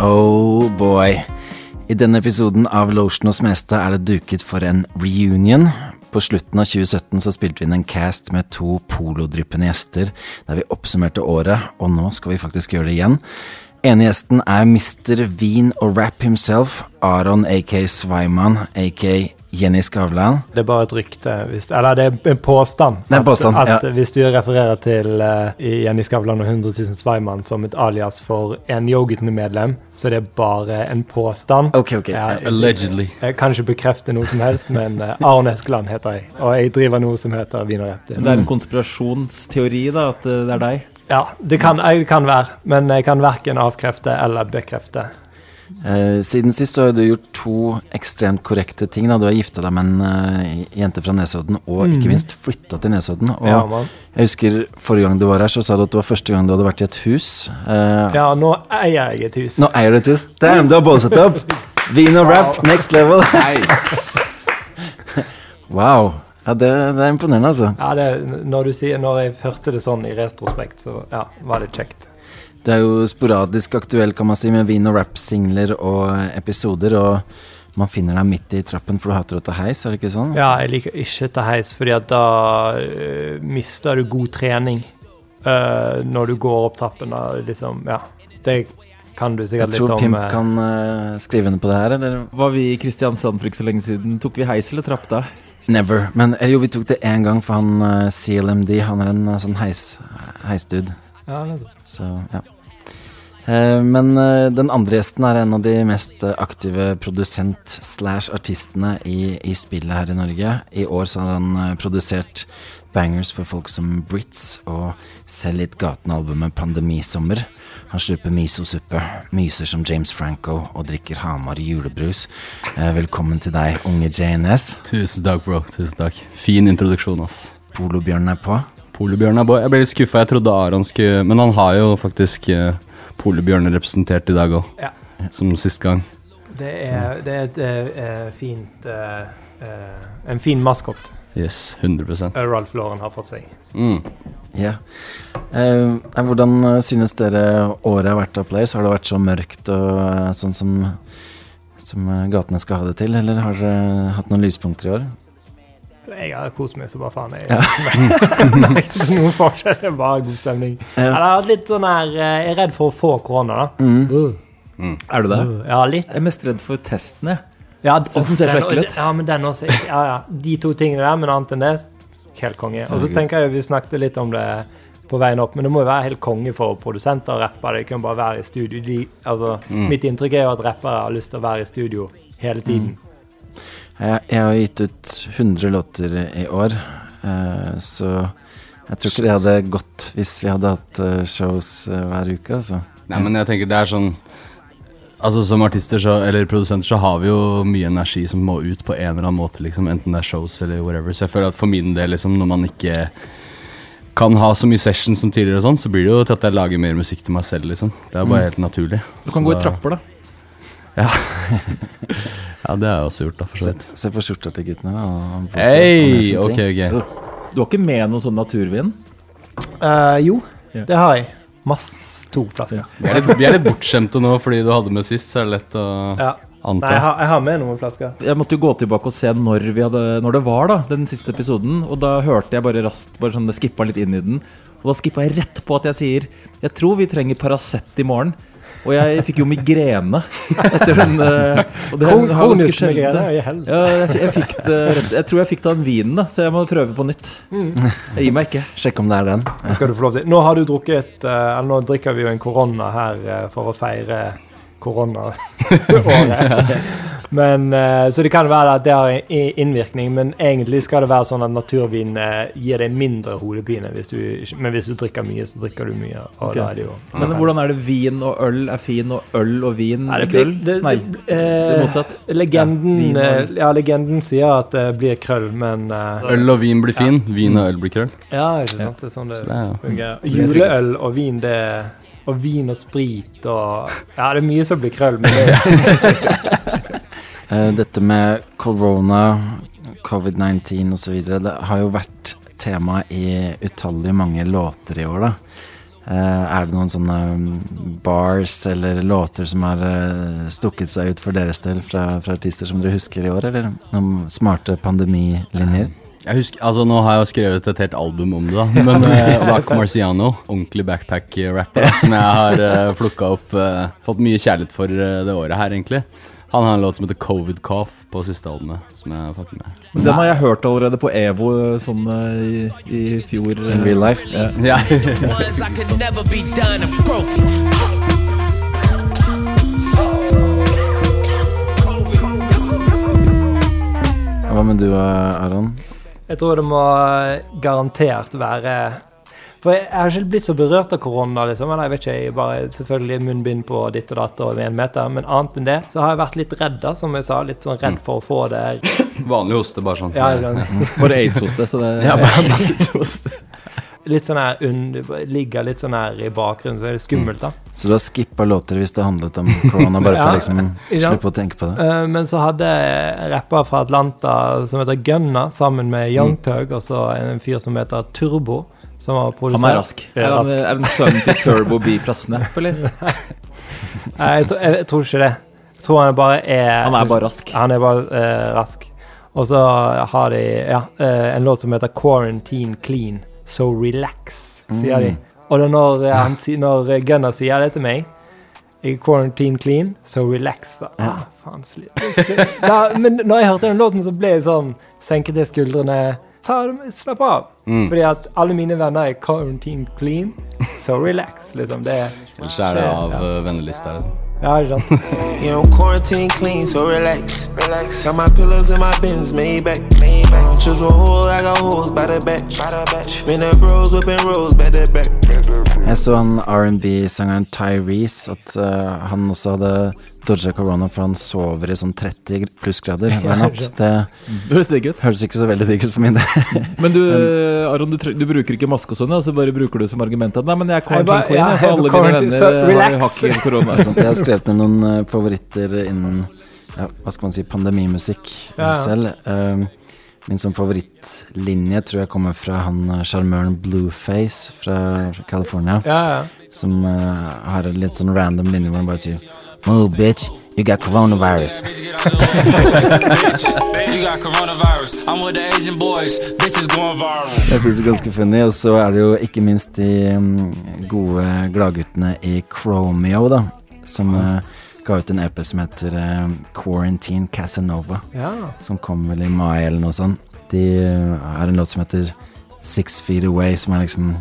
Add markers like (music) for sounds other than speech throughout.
Oh boy. I denne episoden av Lotion og Smestad er det duket for en reunion. På slutten av 2017 så spilte vi inn en cast med to polodryppende gjester, der vi oppsummerte året, og nå skal vi faktisk gjøre det igjen. Ene gjesten er Mr. Vin og Rap himself, Aron aka Sveiman aka Jenny Skavlan. Det er bare et rykte, hvis, eller det er en påstand. Det er en påstand, at, at ja. Hvis du refererer til eh, i Jenny Skavlan og 100 000 Sveimann som et alias for en yoghurtmedlem, så er det bare en påstand. Ok, ok. Jeg, Allegedly. jeg kan ikke bekrefte noe som helst, men eh, Aron Eskeland heter jeg. Og jeg driver noe som heter Wiener Det er en konspirasjonsteori, da, at eh, det er deg. Ja, det kan, jeg kan være, men jeg kan verken avkrefte eller bekrefte. Eh, siden sist så har du gjort to ekstremt korrekte ting. Da. Du har gifta deg med en eh, jente fra Nesodden, og ikke minst flytta til Nesodden. Og Ja, man. jeg husker forrige gang du var her, så sa du at det var første gang du hadde vært i et hus. Eh, Ja, nå eier jeg et hus. Nå eier du et hus. Damn, du har båset opp! Vin og rap, next level. (laughs) wow. Ja, det, det er imponerende, altså. Ja, det, når, du sier, når jeg hørte det sånn i retrospekt, så ja, var det kjekt. Du er jo sporadisk aktuell, kan man si, med vin- og rap-singler og eh, episoder, og man finner deg midt i trappen, for du hater å ta heis, er det ikke sånn? Ja, jeg liker ikke ta heis, fordi at da øh, mister du god trening øh, når du går opp trappen. Da, liksom, ja. Det kan du Jeg sikkert litt tror om. Pimp øh, kan eh, skrive under på det her, eller? Var vi i Kristiansand for ikke så lenge siden? Tok vi heis eller trapp da? Never. Men eh, jo, vi tok det én gang, for han eh, CLMD, han er en eh, sånn heis, heisdude. Ja, nettopp. Så, ja. Eh, Men eh, den andre gjesten er en av de mest eh, aktive produsent-slash-artistene i, i spillet her i Norge. I år så har han eh, produsert bangers for folk som Brits, og selv gitt gaten-albumet Pandemisommer. Han sluper misosuppe, myser som James Franco og drikker Hamar julebrus. Eh, Velkommen til deg, unge JNS. Tusen takk, bro. Tusen takk. Fin introduksjon, ass. Polobjørnen er på. Polebjørn er på. Jeg ble litt skuffa. Jeg trodde Aron skulle Men han har jo faktisk eh, Polebjørn representert i dag òg, Ja. som sist gang. Det Sånn. er, det er et øh, øh, fint øh, øh, En fin maskot Yes, 100 øh, Ralph Lauren har fått seg. mm. Ja. Eh, nei, hvordan eh, synes dere året har vært av Players? Har det vært så mørkt og eh, sånn som, som eh, gatene skal ha det til, eller har dere hatt noen lyspunkter i år? Jeg har kost meg så bare faen. Jeg, (laughs) Nei, ikke noen forskjell, det er bare god stemning. Jeg har hatt litt sånn her øh, Jeg er redd for å få korona, da. Mm. Er du det? Ja, litt. Jeg er mest redd for testen, jeg. Ja, den uff, ser den- skikkelig ut. Ja, men den også. Ja, ja. De to tingene der, men annet enn det, helt konge. Og så tenker jeg vi snakket litt om det på veien opp, men det må jo være helt konge for produsenter og rappere. De kan bare være i studio. De, altså, Mitt inntrykk er jo at rappere har lyst til å være i studio hele tiden. Jeg, jeg har gitt ut 100 låter i år, eh, så jeg tror ikke det hadde gått hvis vi hadde hatt eh, shows eh, hver uke, altså. Nei, men jeg tenker det er sånn Altså Som artister så, eller produsenter så har vi jo mye energi som må ut på en eller annen måte, liksom. Enten det er shows eller whatever. Så jeg føler at for min del, liksom, når man ikke kan ha så mye sessions som tidligere og sånn, så blir det jo til at jeg lager mer musikk til meg selv, liksom. Det er bare helt naturlig. Mm. Du kan Så gå i da- trapper, da. Ja, det har jeg også gjort, da, for så Se, vidt. se på skjorta til guttene, da. Han får se- han gjør Hei! sin Ok, ting. ok. Du har ikke med noe sånn naturvin? Eh, jo, Ja. det har jeg. Masse to flasker. Vi er litt, vi er litt bortskjemte nå fordi du hadde med sist, så er det lett å Nei, jeg anta. har, jeg har med noen flasker. Jeg måtte jo gå tilbake og se når, vi hadde, når det var, da. Den siste episoden. Og da hørte jeg bare raskt bare sånn, skippa litt inn i den. Og da skippa jeg rett på at jeg sier Jeg tror vi trenger Paracet i morgen. Og jeg fikk jo migrene etter den. eh, Og det Kon- har ganske konisk sjelden, migrene, det. i helvete. Ja, jeg, f- jeg, fikk det rett. jeg tror jeg fikk det av den vinen, da, så jeg må prøve på nytt. Jeg gir meg ikke. Sjekk om det er den. skal du få lov til. Nå har du drukket eh, Eller nå drikker vi jo en korona her eh, for å feire (laughs) koronaåret. Men, eh, så det kan være at det har en i- innvirkning, men egentlig skal det være sånn at naturvin eh, gir deg mindre hodepine. Hvis du, ikke- men hvis du drikker mye, så drikker du mye. Og Ok. da er det jo Men hvordan er det vin og øl er fin, og øl og vin Nei, det ikke blir- øl? det- Nei, det- eh, det er motsatt. Legenden, Ja, vin og eh, ja, legenden sier at det blir krøll, men eh, Øl og vin blir fin, vin og øl blir krøll. Ja, ikke sant. Det er sånn det det er- fungerer. Juleøl og vin, det Og vin og sprit og Ja, det er mye som blir krøll, men det (laughs) Eh, Dette med korona, covid-19 osv. Det har jo vært tema i utallige mange låter i år, da. Eh, er det noen sånne mm, bars eller låter som har eh, stukket seg ut for deres del fra, fra artister som dere husker i år, eller noen smarte pandemilinjer? Jeg husker, altså Nå har jeg jo skrevet et helt album om det, da. Men eh, Rock Marciano, ordentlig backpack-rapper, som jeg har uh, plukka opp eh, Fått mye kjærlighet for eh, det året her, egentlig. Han har en låt som heter Covid Cough på siste albumet. Som jeg fucker med. Men den har jeg hørt allerede på Evo eh, sånn eh, i, i fjor. eh. In real life? Ja. (laughs) ones I could never be done and broken. Hva med du, eh, Aron? Jeg tror det må garantert være For jeg jeg har ikke blitt så berørt av korona, liksom. Eller jeg vet ikke, jeg bare selvfølgelig munnbind på ditt og datt og én meter. Men annet enn det så har jeg vært litt redd, da, som jeg sa. Litt sånn Mm. redd for å få det Vanlig hoste, bare sånn. ja, liksom, Bare aids-hoste, så det Ja, bare, bare hoste. (laughs) Litt sånn her under Ligger litt sånn her i bakgrunnen, så er det skummelt, da. Så du har skippa låter hvis det handlet (laughs) om korona, bare for Ja. å liksom Ja. slippe å tenke på det? Eh, Men så hadde jeg rapper fra Atlanta som heter Gunna, sammen med Mm. Young Tug, og så en fyr som heter Turbo, som har produsert (laughs) Han er rask. Er han, er han sønnen til Turbo B fra Snap, eller? (laughs) Nei, jeg, tror- jeg, jeg tror ikke det. Jeg tror han bare er Han er bare rask. Han er bare eh, rask. Og så har de ja, eh, en låt som heter 'Quarantine Clean'. So relax, sier de. Og det er når, eh, han, si- når eh, Gunnar sier det til meg jeg er Quarantine clean, so relax. da. Ah, faen, sli- sli- da, men når jeg hørte den låten, så ble jeg sånn Senket jeg skuldrene. Ta, dem- slapp av. Fordi at alle mine venner er quarantine clean, so relax. Liksom. Det er Ellers er det av uh, vennelista. Ja, ikke sant? You know, quarantine clean, so relax. Relax. Got my pillows and my bins made back. Made back. Um, chisel hole, I got holes by the batch. By the batch. Been the bros whipping rolls by the back. Jeg så han R&B-sangeren Tyrese, at eh, han også hadde dodga korona, for han sover i sånn 30 plussgrader hver natt. Det Det høres digg ut. høres ikke så veldig digg ut for min del. (laughs) Men du, Aron, du, tre- du bruker ikke maske og sånn, ja, så bare bruker du som argument at nei, men jeg er Jeg bare- quarantine clean, ja, jeg, for alle mine quarantine, venner så eh, har jo relax. hakket korona. Sånn at Jeg har skrevet ned noen eh, favoritter innen ja, hva skal man si, pandemimusikk eh, Ja, ja. selv. Eh, min sånn favorittlinje tror jeg kommer fra han eh, sjarmøren Blueface fra fra California. Ja, ja. Som eh, har en litt sånn random linje hvor han bare sier Move, bitch, you got coronavirus. (laughs) You got coronavirus. I'm with the Asian boys. Bitches going viral. Jeg synes det er ganske funny, og så er det jo ikke minst de mm, gode gladguttene i Chromeo, da, som eh, ga ut en EP som heter eh, Quarantine Casanova, ja. som kom vel i mai eller noe sånt. De eh, har en låt som heter Six Feet Away, som er liksom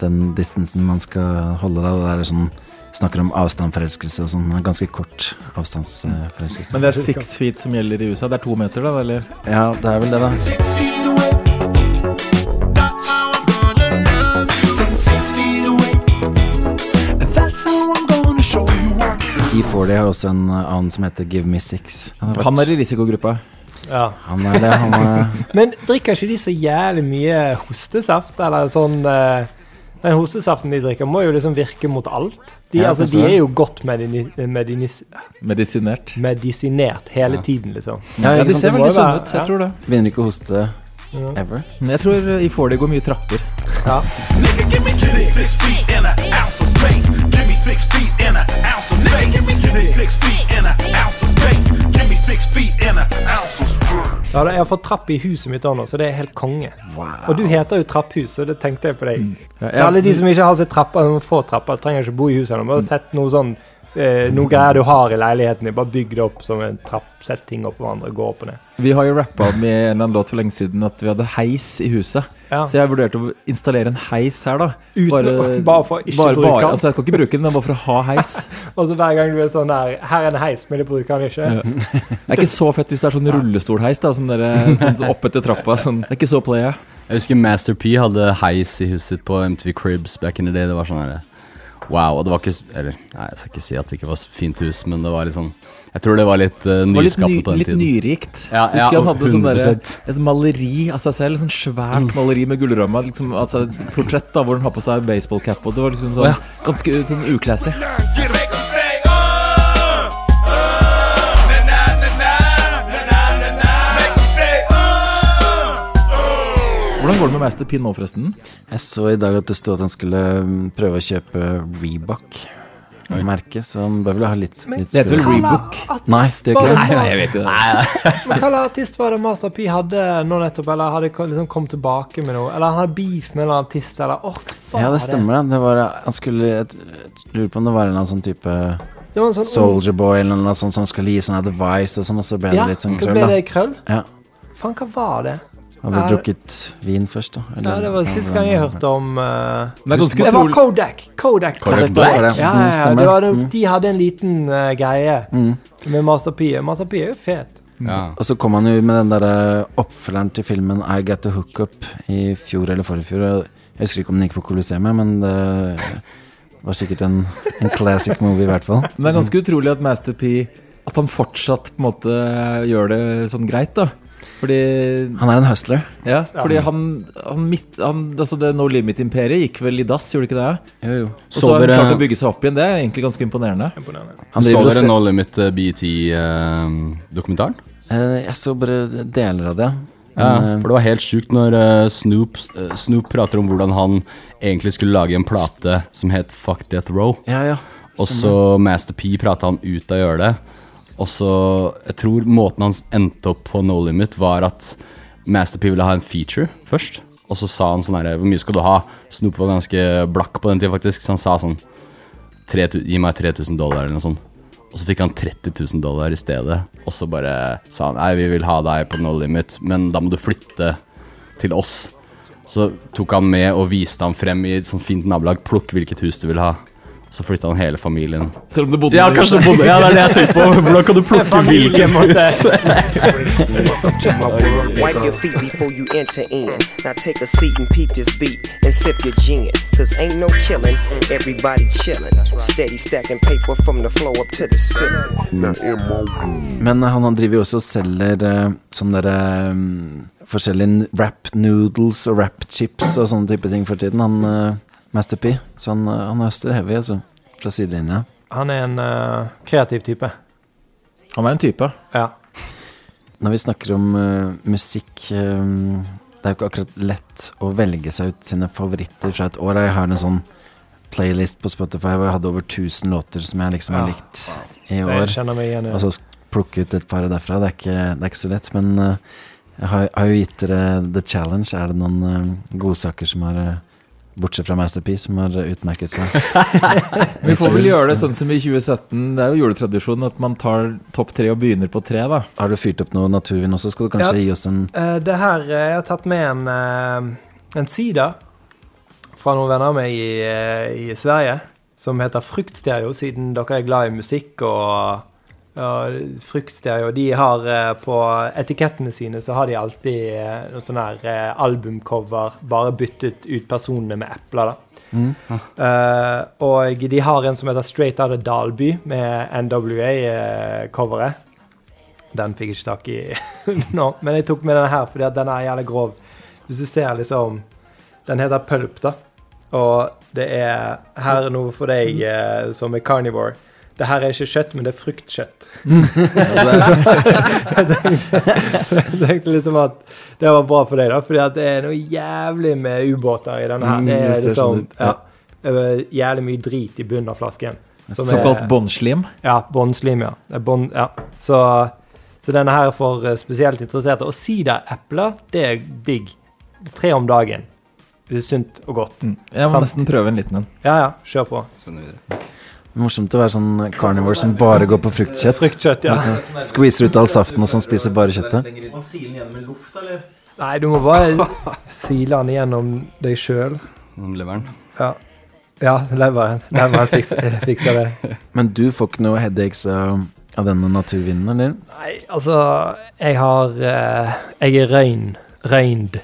den distansen man skal holde da, og det er sånn, snakker om avstandforelskelse og sånn, en ganske kort avstandsforelskelse. Men det er six feet som gjelder i USA. Det er to meter, da? eller? Ja, det er vel det da. Six feet away. That's how I'm gonna love you from six feet away. That's how I'm gonna show you what. E40 har også en eh, annen som heter Give Me Six. har Han vært- er i risikogruppa. ja. han er det, han er... Men drikker ikke de så jævlig mye hostesaft, eller sånn eh, Den hostesaften de drikker, må jo liksom virke mot alt. De, Ja, altså, kanskje de det. er jo godt medini, medinis, Medisinert. medisinert hele tiden, liksom. Ja, Ja, ikke De sant, det ser må veldig jo være- sunne ut. Jeg ja. tror det. Begynner ikke å hoste ever. Men Jeg tror eh, i får det går mye trapper. Nigga, give me six, six feet and an ounce of space. Give me six feet and an ounce of space. Give me six feet and an ounce of space. Give me six feet and an ounce of space. Ja, da, jeg har fått trapp i huset mitt òg nå, så det er helt konge. Og du heter jo Trapphus, så det tenkte jeg på deg. Til alle de som ikke har sett trapper, som får trapper, trenger ikke bo i huset. ennå, Bare sett noe sånn eh, noe greier du har i leiligheten din. Bare bygg det opp som en trapp. Sett ting opp på hverandre, gå opp og ned. Vi har jo rappa om i en eller annen låt for lenge siden at vi hadde heis i huset. Ja. Så jeg vurderte å installere en heis her, da. Uten- bare for å ikke bruke den. Altså, jeg kan ikke bruke den, men bare for å ha heis. Og så hver gang du er sånn her Her er en heis, men det bruker han ikke. Det er ikke så fett hvis det er sånn rullestolheis, da. Sånn der, sånn opp etter trappa. Sånn. Det er ikke så playa. Jeg husker Master P hadde heis i huset sitt på MTV Cribs back in the day. Det var sånn her Wow. Og det var ikke s- Eller nei, jeg skal ikke si at det ikke var s- fint hus, men det var litt sånn Jeg tror det var litt Det uh, var litt, ny, nyskapet på den litt tiden. nyrikt. Ja, ja, Husker han hadde sånn derre- 100%. et maleri av seg selv. Sånn svært maleri med gullramme. Liksom, altså, et portrett da, hvor han har på seg baseballcap. Og det var liksom Å, sånn, ja. ganske sånn uklassy. Get it. Make 'em say, uh, uh, na na na na, na na na na. Make 'em say, uh, uh. Hvordan går det med Master P nå, forresten? Jeg så i dag at det sto at han skulle mm, prøve å kjøpe Reebok. Merket, så han bør vel ha litt, litt Det heter vel språk. Rebook? Nei, det gjør ikke det. jeg vet jo det. Men hva slags artist var det Master P hadde nå nettopp? Eller hadde ko- liksom kommet tilbake med noe? Eller han hadde beef med en eller annen artist? Eller åh, hva faen Ja, var det stemmer. Det, det var, han skulle, jeg lurer på om det var en eller annen sånn type Det var en sånn ung- Soldier Boy eller noe sånt som skulle gi sånn advice, og sånn, og så ble Ja, det litt sånn så krøll, ble da. det krøll. Ja. Faen, hva var det? Han ble Ja, det- drukket vin først, da. eller- Ja, det var sist gang jeg hørte om eh, Det er ganske Det var utrolig Kodak. Kodak Kodak Black? Ja, ja, Ja, ja, ja, ja. stemmer. Mm. Det var, det- de hadde en liten eh, greie med Master P. Master P er jo fet. Ja. Og så kom han jo med den derre oppfølgeren til filmen I Got A Hook Up i fjor eller forrige fjor. og Jeg husker ikke om den gikk på Coliseum, men det var sikkert en, en classic movie, i hvert fall. Men det er ganske utrolig at Master P At han fortsatt på en måte gjør det sånn greit, da. Fordi Han er en hustler. Ja, fordi han, han, midt, han Altså, det No Limit-imperiet gikk vel i dass, gjorde det ikke det? Jo, jo. Og så Så har han dere- klart å bygge seg opp igjen. Det er egentlig ganske imponerende. Han så driver og dere se- No Limit eh, BET-dokumentaren? Eh, Jeg så bare deler av det. Ja, Men, eh, for det var helt sjukt når eh, Snoop, eh, Snoop prater om hvordan han egentlig skulle lage en plate som het Fuck Death Row. ja, ja. Og så Master P prata han ut av å gjøre det. Og så Jeg tror måten hans endte opp på No Limit, var at Master P ville ha en feature først. Og så sa han sånn herre Hvor mye skal du ha? Snoop var ganske blakk på den tida, faktisk. Så han sa sånn «Tre tu- Gi meg 3000 dollar, eller noe sånt. Og så fikk han 30 000 dollar i stedet. Og så bare sa han Nei, vi vil ha deg på No Limit, men da må du flytte til oss. Så tok han med og viste ham frem i et sånt fint nabolag. Plukk hvilket hus du vil ha. Så flytta han hele familien. Selv om det bodde Ja, kanskje bodde Ja, det er det jeg tenker på. Hvordan kan du plukke hvilket hus? to my world. Wipe your feet before you enter in. Now take a seat and peep this beat and sip your gin. Cause ain't no chillin', everybody chillin'. Steady stacking paper from the floor up to the ceiling. Men eh, han han driver jo også og selger eh, sånne derre mm, forskjellige wrap noodles og wrap chips og sånne type ting for tiden, han eh, Master P. Så han, eh, han høster heavy, altså. Fra sidelinja. Han er en eh, kreativ type. Han er en type. Ja. Når vi snakker om eh, musikk eh, Det er jo ikke akkurat lett å velge seg ut sine favoritter fra et år. Jeg har en sånn playlist på Spotify hvor jeg hadde over 1000 låter som jeg liksom har Ja. likt i Jeg år. kjenner meg igjen. i Og det. så sk- plukke ut et par derfra. Det er ikke, det er ikke så lett. Men eh, jeg har, har jo gitt dere The Challenge. Er det noen eh, godsaker som har eh, Bortsett fra Master P, som har eh, utmerket seg. Vi får vel gjøre det sånn som i 2017. Det er jo juletradisjon at man tar topp tre og begynner på tre, da. Har du fyrt opp noe naturvin også? Skal du kanskje gi oss en Eh, det her eh, Jeg har tatt med en, eh, en side fra noen venner av meg i, eh, i Sverige som heter Fruktstereo, siden dere er glad i musikk og ja, Fruktstereo. De har eh, på etikettene sine så har de alltid eh, noe sånn her eh, albumcover, bare byttet ut personene med epler, da. Eh, og de har en som heter Straight Outta Dalby, med NWA-coveret. eh, Den fikk jeg ikke tak i (laughs) nå, men jeg tok med denne her fordi at den er jævlig grov. Hvis du ser liksom Den heter Pulp, da. Og det er Her er noe for deg eh, som er carnivore. Det her er ikke kjøtt, men det er (laughs) fruktkjøtt. jeg tenkte, jeg tenkte liksom at det var bra for deg, da, fordi at det er noe jævlig med ubåter i denne her. Mm, Det det er ser liksom sånn ut, ja, ja. eh, jævlig mye drit i bunnen av flasken. som er- Såkalt båndslim. ja, båndslim, ja. Det er bånd- ja. Så, så denne her er for eh, spesielt interesserte. Og siderepler, det er digg. Tre om dagen. Det er sunt og godt. Jeg må Sant. nesten prøve en liten en. Ja, ja, kjør på. Morsomt å være sånn carnivore som bare går på fruktkjøtt. Fruktkjøtt, ja. Skviser ut all saften og sånn spiser bare kjøttet. (laughs) Nei, du må (laughs) bare sile den gjennom deg sjøl. Leveren. Ja. ja, leveren. Leveren fikser, fikser det. Men du får ikke noe headaches av av denne naturvinen, eller? Nei, altså Jeg har eh, Jeg er røyn. Røynd,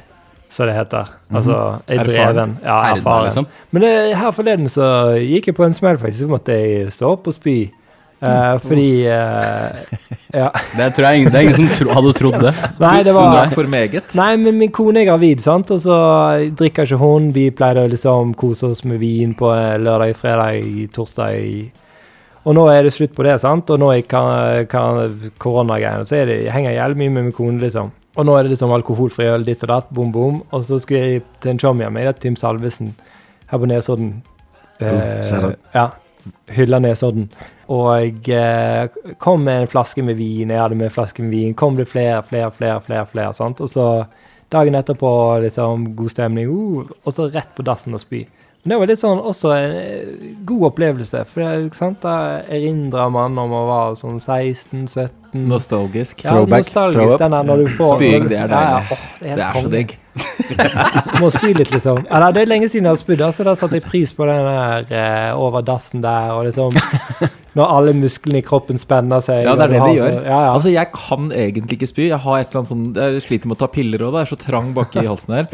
som det heter. Altså, jeg er sånn Erfaren. dreven. Ja, Herda, erfaren. liksom. Men det, her forleden så gikk jeg på en smell, faktisk. Så måtte jeg stå opp og spy. Eh, fordi eh, Ja. Det tror jeg ingen, det er ingen som tro, hadde trodd det. Nei, det Du var drakk for meget. Nei, men min kone er gravid, sant? og så drikker ikke hun. Vi pleide å liksom kose oss med vin på eh, lørdag, fredag, torsdag. Og nå er det slutt på det, sant? og nå i kor- kor- koronagreiene så er det, jeg henger jeg jævlig mye med min kone. liksom. Og nå er det liksom alkoholfri øl ditt og datt, bom, bom. Og så skulle jeg til en chommy av meg, det er Tim Salvesen her på Nesodden. Oh, ser Eh, det. ja. Hylla Nesodden. Og jeg eh, kom med en flaske med vin, jeg hadde med en flaske med vin. Kom det flere, flere, flere, flere, flere, sant? Og så dagen etterpå, liksom, god stemning, uh, og så rett på dassen og spy. Men det var litt sånn også en eh, god opplevelse, for det, ikke sant? da erindrer man om å være sånn 16-17. Nostalgisk. Ja, Throwback, nostalgisk, throw up. den der når du får Spying, når du- det er Ja, ja, deilig. åh, det er, Det er så digg. Må spy litt, liksom. Ja, nei, det er lenge siden jeg har spydd, da, så da satte jeg pris på den der eh, over dassen der, og liksom Når alle musklene i kroppen spenner seg. Ja, og det er du det de har gjør. så- Ja, ja. Altså, jeg kan egentlig ikke spy. Jeg har et eller annet sånn Jeg sliter med å ta piller òg, det er så trang baki i halsen (laughs) her.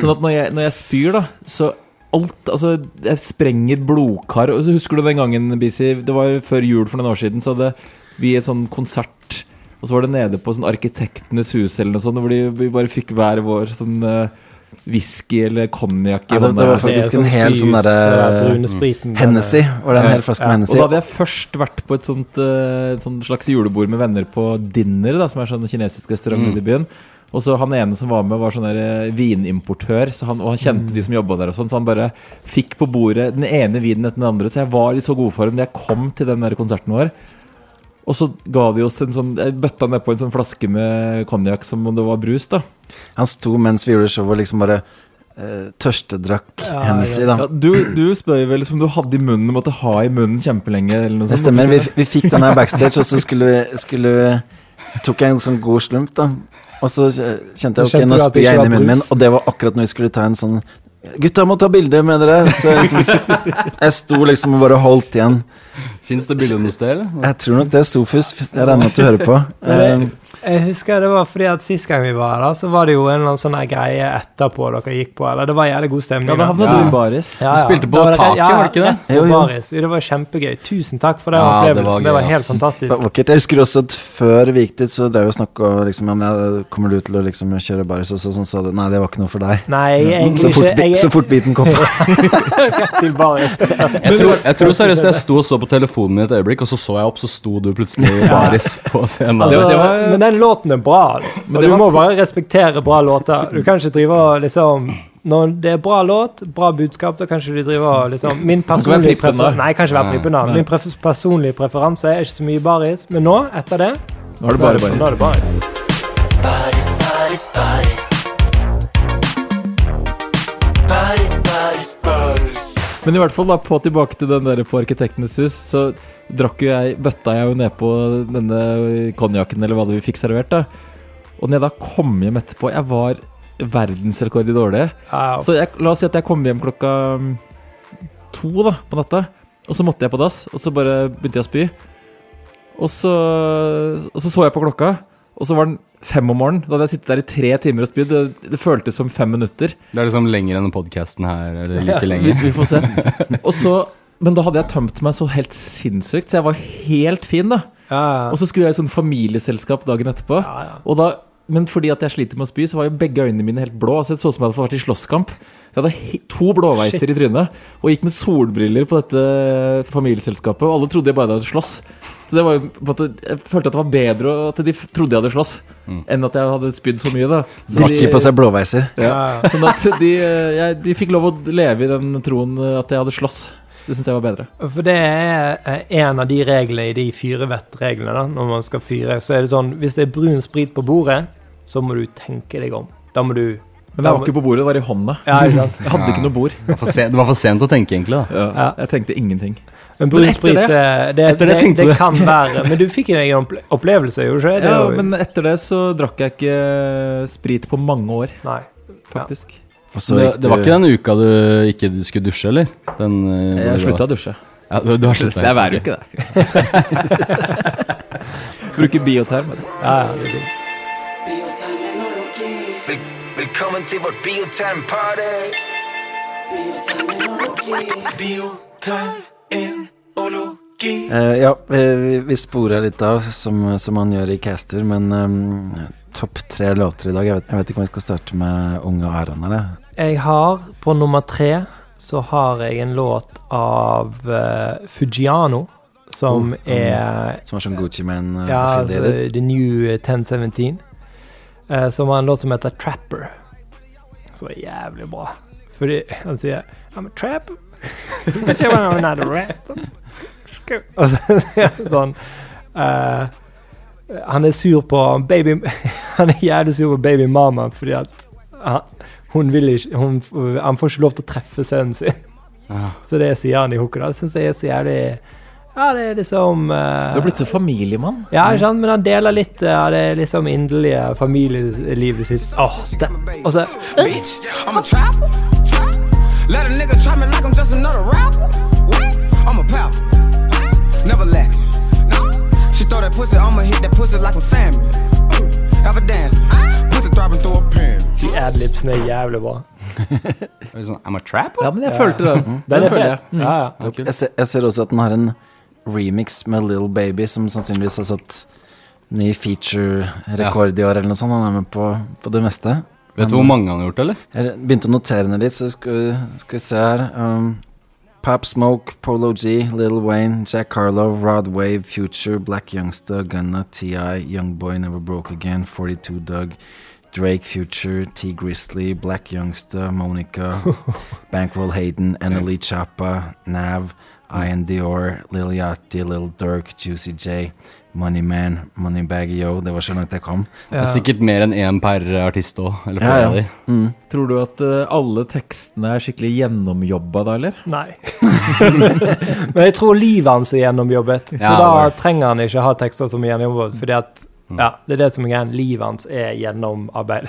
Sånn at når jeg, når jeg spyr, da, så alt Altså, jeg sprenger blodkar. Og så husker du den gangen, Bisi, det var før jul for noen år siden, så hadde vi et sånn konsert, og så var det nede på sånn Arkitektenes hus eller noe sånt, hvor de, vi bare fikk hver vår sånn eh, whisky eller konjakk i Ja, det, hånda. det var Det er faktisk en hel spyhus, sånn den derre brune spriten, Hennessy. Var det en Ja. hel flaske Ja, med Og Hennessy? da hadde jeg først vært på et sånt, eh, et sånt slags julebord med venner på Dinner, da, som er sånn kinesisk restaurant Mm. nede i byen. Og så han ene som var med, var sånn der eh, vinimportør, så han, og han Mm. kjente de som jobba der. og sånn, Så han bare fikk på bordet den ene vinen etter den andre. Så jeg var i så god form da jeg kom til den der konserten vår. Og så ga de oss en sånn Jeg bøtta nedpå en sånn flaske med konjakk som om det var brus, da. Han sto mens vi gjorde showet og liksom bare eh, tørstedrakk Hennessy, da. Ja, du, du spør jo vel som du hadde i munnen, måtte ha i munnen kjempelenge, eller noe Det sånt. stemmer. Vi, vi fikk den her backstage, og så skulle vi, skulle vi Tok jeg en sånn god slump, da. Og så kjente jeg Kjente ok, du nå at det spyr jeg inn ikke i var munnen min, brus? og det var akkurat når vi skulle ta en sånn Gutta, jeg må ta bilde med dere! Så jeg liksom, jeg sto liksom og bare holdt igjen. Fins det bilde noe sted, eller? Jeg tror nok det er Sofus. Jeg regner med at du hører på. Men det- Jeg husker det var fordi at sist gang vi var her, da, så var det jo en eller annen sånn her greie etterpå dere gikk på, eller det var jævlig god stemning. Ja, da havna Ja. du i baris. Ja, Du ja. spilte på Da var taket, ja, var det ikke det? rett på Jo, jo. Baris. Jo, Det var kjempegøy. Tusen takk for den Ja, det var opplevelsen. gøy, Det var ass. helt Det var (laughs) fantastisk. vakkert. Jeg husker også at før vi gikk dit, så drev vi og snakka liksom, om ja, kommer du til å liksom, kjøre baris, og så sånn, sa du nei, det var ikke noe for deg. Nei, jeg er Så egentlig fort, ikke bi- så Jeg fort biten kom (laughs) på. er til Baris. Jeg tror, jeg tror seriøst jeg sto og så på telefonen min et øyeblikk, og så så jeg opp, så sto du plutselig i baris på scenen. Det Så- var- det var- Altså, men den låten er bra. Og det du var- må bare respektere bra låter. Du kan ikke drive og liksom Når det er bra låt, bra budskap, da kan ikke du drive og liksom Min være personlige prippen, da. preferanse Nei, kan ikke være prippen, da. Min pref personlige preferanse er ikke så mye baris, men nå, etter det Nå er det bare baris. Nå er det baris. Bodies, bodies, bodies. Bodies, bodies, bodies. Men i hvert fall da, på tilbake til den der på Arkitektenes hus, så drakk jo jeg, bøtta jeg jo ned på denne konjakken eller hva det vi fikk servert da. Og når jeg da kom hjem etterpå, jeg var verdensrekord i dårlig. Ja, Så jeg, la oss si at jeg kom hjem klokka mm, to da, på natta, og så måtte jeg på dass, og så bare begynte jeg å spy. Og så, og så så jeg på klokka, og så var den fem om morgenen. Da hadde jeg sittet der i tre timer og spydd. Det, det føltes som fem minutter. Det er liksom lenger enn podkasten her, eller Ja, like Vi, lenge. vi får se. Og så, men da hadde jeg tømt meg så helt sinnssykt, så jeg var helt fin, da. ja, Og så skulle jeg i sånn familieselskap dagen etterpå. Og da, men fordi at jeg sliter med å spy, så var jo begge øynene mine helt blå. Altså, det så ut som jeg hadde vært i slåsskamp. Jeg hadde he- to blåveiser i trynet og gikk med solbriller på dette familieselskapet. Og alle trodde jeg bare hadde slåss. Så det var jo på en måte, jeg følte at det var bedre og at de f- trodde jeg hadde slåss, enn at jeg hadde spydd så mye. da Så de- Drikke på seg blåveiser. ja. Sånn at de, eh, jeg, de fikk lov å leve i den troen eh, at jeg hadde slåss. Det syns jeg var bedre. For det er eh, en av de reglene i de fyrevettreglene, da, når man skal fyre. Så er det sånn, hvis det er brun sprit på bordet, så må du tenke deg om. Da må du Men det var ikke på bordet, det var i hånda. Ja, ikke sant. Jeg hadde ikke noe bord. Det var for sent- det var for sent å tenke, egentlig. da Ja, jeg tenkte ingenting. Men brun Men etter sprit, det- eh, det, det, etter det det, tenkte du. kan være Men du fikk jo en egen opple- opplevelse, gjorde du ikke? Det Ja, er jo- men etter det så drakk jeg ikke eh, sprit på mange år, Nei. faktisk. Og så Det, gikk det var du- ikke den uka du ikke du skulle dusje, eller? Den, eh, Jeg hvor du slutta å var- dusje. Ja, du, du har slutta. Jeg værer jo ikke det. Bruker bioterm. vet du. Ja, ja, det er digg. Vel- Velkommen til vårt bioterm-party. Bioterminologi. Eh, ja, eh, vi, vi sporer litt av, som, som man gjør i caster, men ehm, topp tre låter i dag. Jeg vet, jeg vet ikke om jeg skal starte med Unge Aron, eller? Jeg har på nummer tre så har jeg en låt av eh, Fugiano, som er eh, eh, altså, Som er sånn Gucci Man-fideler. ja, The New 1017. eh, som har en låt som heter 'Trapper'. Som er jævlig bra. Fordi han sier 'I'm a trapper'. (laughs) But you wanna know the rapper. (laughs) Og så sier han sånn eh, Han er sur på baby (laughs) Han er jævlig sur på baby mama fordi at han, hun vil ikke hun, Han får ikke lov til å treffe sønnen sin. Ah. Ja. Så det sier han i Hokkedal. Det syns jeg er så jævlig Ja, det er liksom Du har blitt så familiemann. ja, ikke sant? men han deler litt eh, av det liksom inderlige familielivet sitt. Åh, det, og så, bitch. I'm a trapper. Trap. Let a nigga try me like I'm just another rapper. What? I'm a pal. Never lack. No. She throw that pussy, I'ma hit that pussy like I'm Sammy. Have a dance. Pussy throbbing through a pen. de adlibsene er jævlig bra. Er det Sånn, I'm a trapper? Ja, men jeg følte den. Den er føler fet. Ja, ja. Jeg ser, jeg ser også at den har en remix med Little Baby, som sannsynligvis har satt ny feature-rekord i år eller noe sånt. Han er med på, på det meste. Vet du hvor mange han har gjort, eller? Jeg begynte å notere ned litt, så skal vi, skal vi se her. Um, Pap Smoke, Polo G, Little Wayne, Jack Harlow, Rod Wave, Future, Black Youngster, Gunna, T.I., Young Boy Never Broke Again, 42 Doug, Drake, Future, T. Grizzly, Black Youngster, Monica, Bankroll Hayden, Annalie Chapa, Nav, Ian Dior, Lil Yachty, Lil Durk, Juicy J, Moneyman, Moneybag Yo. Det var så langt jeg kom. Det er sikkert mer enn én per artist òg. Eller Ja, flere ja. av de. Tror du at eh, alle tekstene er skikkelig gjennomjobba da, eller? Nei. (laughs) men jeg tror livet hans er gjennomjobbet, så Ja, da vel. trenger han ikke ha tekster som er gjennomjobbet. Fordi at Mm. ja, det er det som er greia. Livet hans er gjennomarbeidet.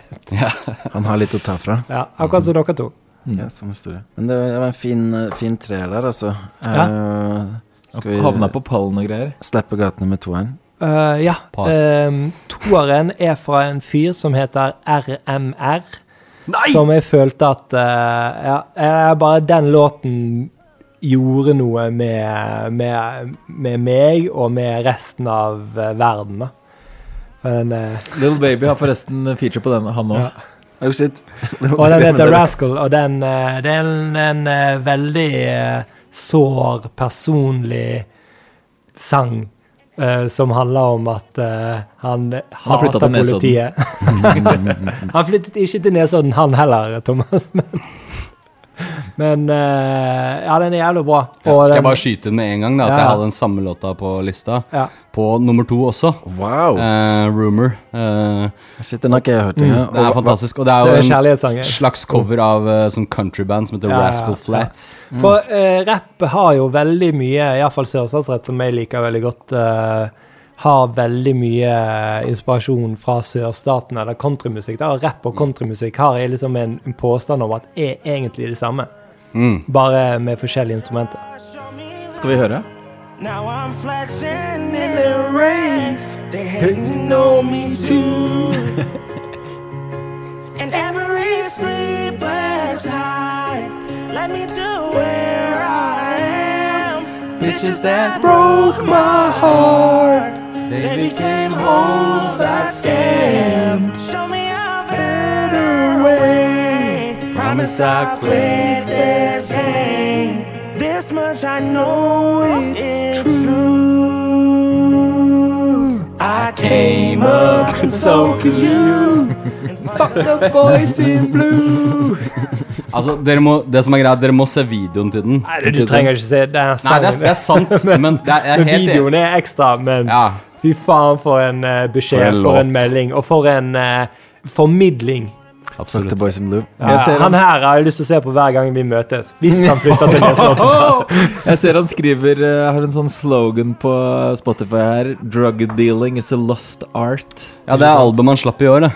Han har litt å ta fra. Ja, akkurat som dere to. Mm. Ja, samme historie. Men det var det var en fin, eh, fin treer der, altså. Ja. Eh, skal vi Havna på pallen og greier. slappe gatene med toeren? Eh, ja. Pass. Ehm, toeren er fra en fyr som heter RMR. Som jeg følte at eh, ja, eh, Bare den låten gjorde noe med, med, med meg og med resten av eh, verden. da. Men, eh, Little Baby har forresten feature på den, han òg. Ja. Oh shit. og den heter Rascal, og den, eh, det er en, en eh, veldig eh, sår, personlig sang eh, som handler om at eh, han har flyttet hater til Nesodden. politiet. han flyttet ikke til Nesodden, han heller, Thomas. Men, men eh, ja, den er jævlig bra. Og Skal jeg den- bare skyte inn med en gang da, at Ja. jeg hadde den samme låta på lista. Ja. På nummer to også. Wow. Eh, rumor. Eh, Shit, den har ikke jeg hørt Mm, engang. det er fantastisk. Og det det er er jo en kjærlighetssanger. slags cover av eh, sånn countryband som heter Ja, ja, Rascal ja. Flats. For eh, rapp har jo veldig mye, iallfall sørstatsrett, som jeg liker veldig godt, eh, har veldig mye eh, inspirasjon fra sørstaten eller countrymusikk. Da. Og Rapp og Mm. countrymusikk har jeg liksom en, en påstand om at er egentlig det samme, Mm. bare med forskjellige instrumenter. Skal vi høre? Now I'm flashing in the rave. They hating on me too. (laughs) and every sleepless night led me to where I am. Bitches that broke my heart. They became hoes I scammed. Show me a better way. Promise I quit this game. This much I know it's true. I came up and so could you. Fuck the boys in blue. Altså, dere må, det som er greit, dere må se videoen til den. Nei, du trenger ikke se den Nei, det er, sangen. det er (laughs) sant, men det er, jeg er helt videoen er ekstra, men Ja. fy faen for en eh, For beskjed, en for en, låt. melding, og for en eh, formidling. Fuck the boys in blue. Ja, Eh, han her har jeg lyst til å se på hver gang vi møtes, hvis han flytter til Nesodden. (laughs) Jeg ser han skriver eh, Har en sånn slogan på Spotify her. 'Drug dealing is a lost art'. Ja, det er albumet han slapp i år, det.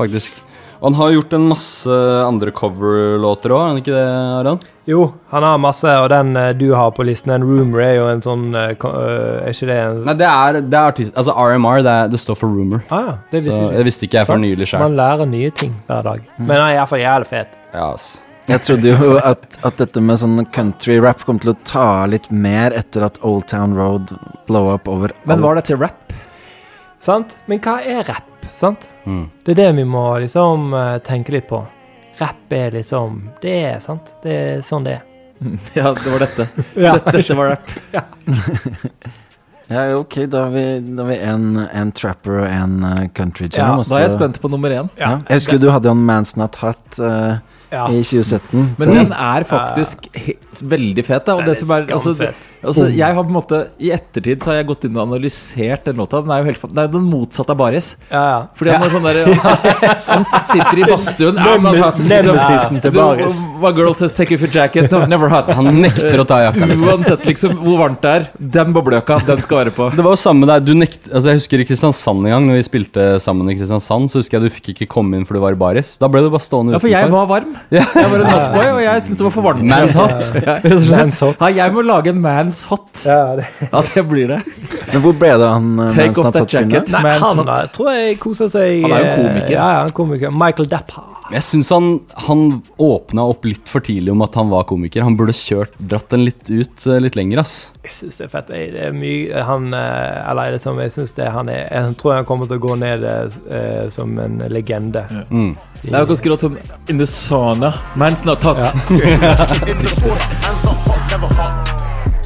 Faktisk. Og han har gjort en masse andre coverlåter òg, er han ikke det, Aran? Jo, han har masse, og den eh, du har på listen, en rumor, er jo en sånn eh, ko- eh, Er ikke det en Nei, det er, det er artist... Altså, RMR, det, er, det står for Rumor. ah, ja, det Så visste det jeg ikke. visste ikke jeg for nylig Mm. sjøl. Man lærer nye ting hver dag. Men han er iallfall jævlig fet. Ja, ass. Jeg trodde jo at, at dette med sånn country-rap kom til å ta av litt mer etter at Old Town Road blow up over Men alt. var dette rap? (laughs) Sant? Men hva er rapp? Sant? Mm. Det er det vi må liksom eh, tenke litt på. Rapp er liksom Det er sant. Det er sånn det er. (laughs) Ja, det var dette. Ja. Dette var rap. Ja, ok, da har vi, da har vi en, en trapper og en eh, country jam. Ja, og da er jeg så- spent på nummer én. Ja. Jeg husker du hadde jo en Man's Not Hot eh, Ja. i 2017. Men den er faktisk he- veldig fet. Da. Og Den det er som er, altså, skamfet. altså, jeg har på en måte, I ettertid så har jeg gått inn og analysert den låta. Den er jo helt, fa- det er jo den motsatte av Baris. Fordi han Ja. er sånn der, han, han sitter i (laughs) badstuen Neme- "Ah, I'm not hot." Liksom, nemesisen til "The- Baris." My girl says take off your jacket. No, never hot. Han nekter å ta (laughs) jakka, liksom. Uansett liksom, hvor varmt det er, den bobløka, den skal være på. Det var jo samme der, du nekt, altså Jeg husker i Kristiansand en gang, når vi spilte sammen i Kristiansand, så husker jeg du fikk ikke komme inn for du var i baris. Da ble du bare stående Ja, for jeg var varm. Jeg var en hotboy, og jeg syntes det var for varmt. Man's hot. Ja, rett og slett. Man's Ja, jeg må lage en man's hot. At jeg blir det. Men hvor ble det av han eh, Take Man's off Not that Hot-fyren jacket, der? Nei, han eh, tror jeg koser seg Han er jo eh, komiker. Ja, ja, han er komiker. Michael Deppa. Jeg syns han, han åpna opp litt for tidlig om at han var komiker. Han burde kjørt, dratt den litt ut eh, litt lenger, ass. Jeg syns det er fett. Jeg, det er mye han eh, Eller er det som jeg syns det er han er Jeg tror han kommer til å gå ned eh, som en legende. Mm. Det er jo ganske rått sånn In the sauna. Man's not hot.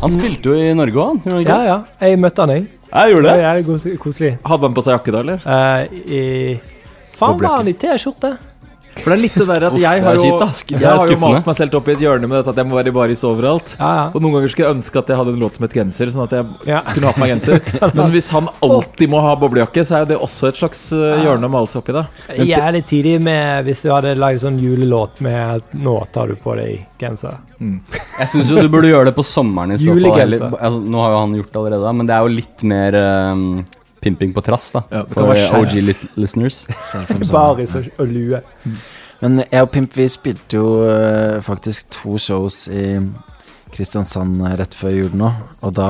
Han spilte jo i Norge òg, han? Ja, ja. Jeg møtte han, jeg. Jeg gjorde det? Ja, ja, det er koselig. Hadde han på seg jakke da, eller? Eh, i Faen, var han i T-skjorte? For det er litt det der at Uff, jeg det har er jo, kjipt, da. Sk- det er jeg har jo skuffende. malt meg selv opp i et hjørne med dette at jeg må være i baris overalt. Og noen ganger skulle jeg ønske at jeg hadde en låt som het genser, sånn at jeg Ja. kunne ha på meg genser. Men hvis han alltid må ha boblejakke, så er jo det også et slags eh, hjørne å male seg opp i, da. Jævlig tidlig med hvis du hadde lagd sånn julelåt med at 'Nå tar du på deg genser'. Jeg syns jo du burde gjøre det på sommeren i så fall. Julegenser. Eller, altså, nå har jo han gjort det allerede, men det er jo litt mer eh, pimping på trass, da. Ja, det kan for være eh, skjerf. OG lit listeners. Baris og, og lue. Men jeg og Pimp vi spilte jo eh, faktisk to shows i Kristiansand eh, rett før jul nå, og da,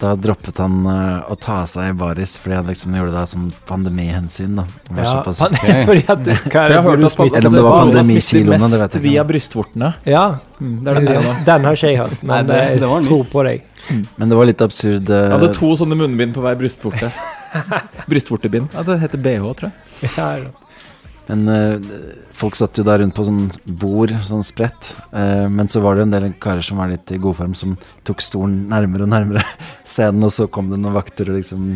da droppet han eh, å ta av seg baris fordi han liksom gjorde det som pandemihensyn, da. Han var Ja, såpass- pan- (laughs) fordi at du- hva er For det jeg har hørt du at smitter? Eller om det var Alle pandemikiloene, smitter det vet mest jeg ikke. via brystvortene. Ja. Mm, det er det jeg har. Den har ikke jeg hørt, men Nei, det- jeg det var ny. tror på deg. (laughs) Men det var litt absurd. eh, Jeg hadde to sånne munnbind på hver brystvorte. Brystvortebind. Ja, det heter BH, tror jeg. Men eh, folk satt jo der rundt på sånn bord, sånn spredt. Eh, men så var det jo en del karer som var litt i god form, som tok stolen nærmere og nærmere (laughs) scenen, og så kom det noen vakter og liksom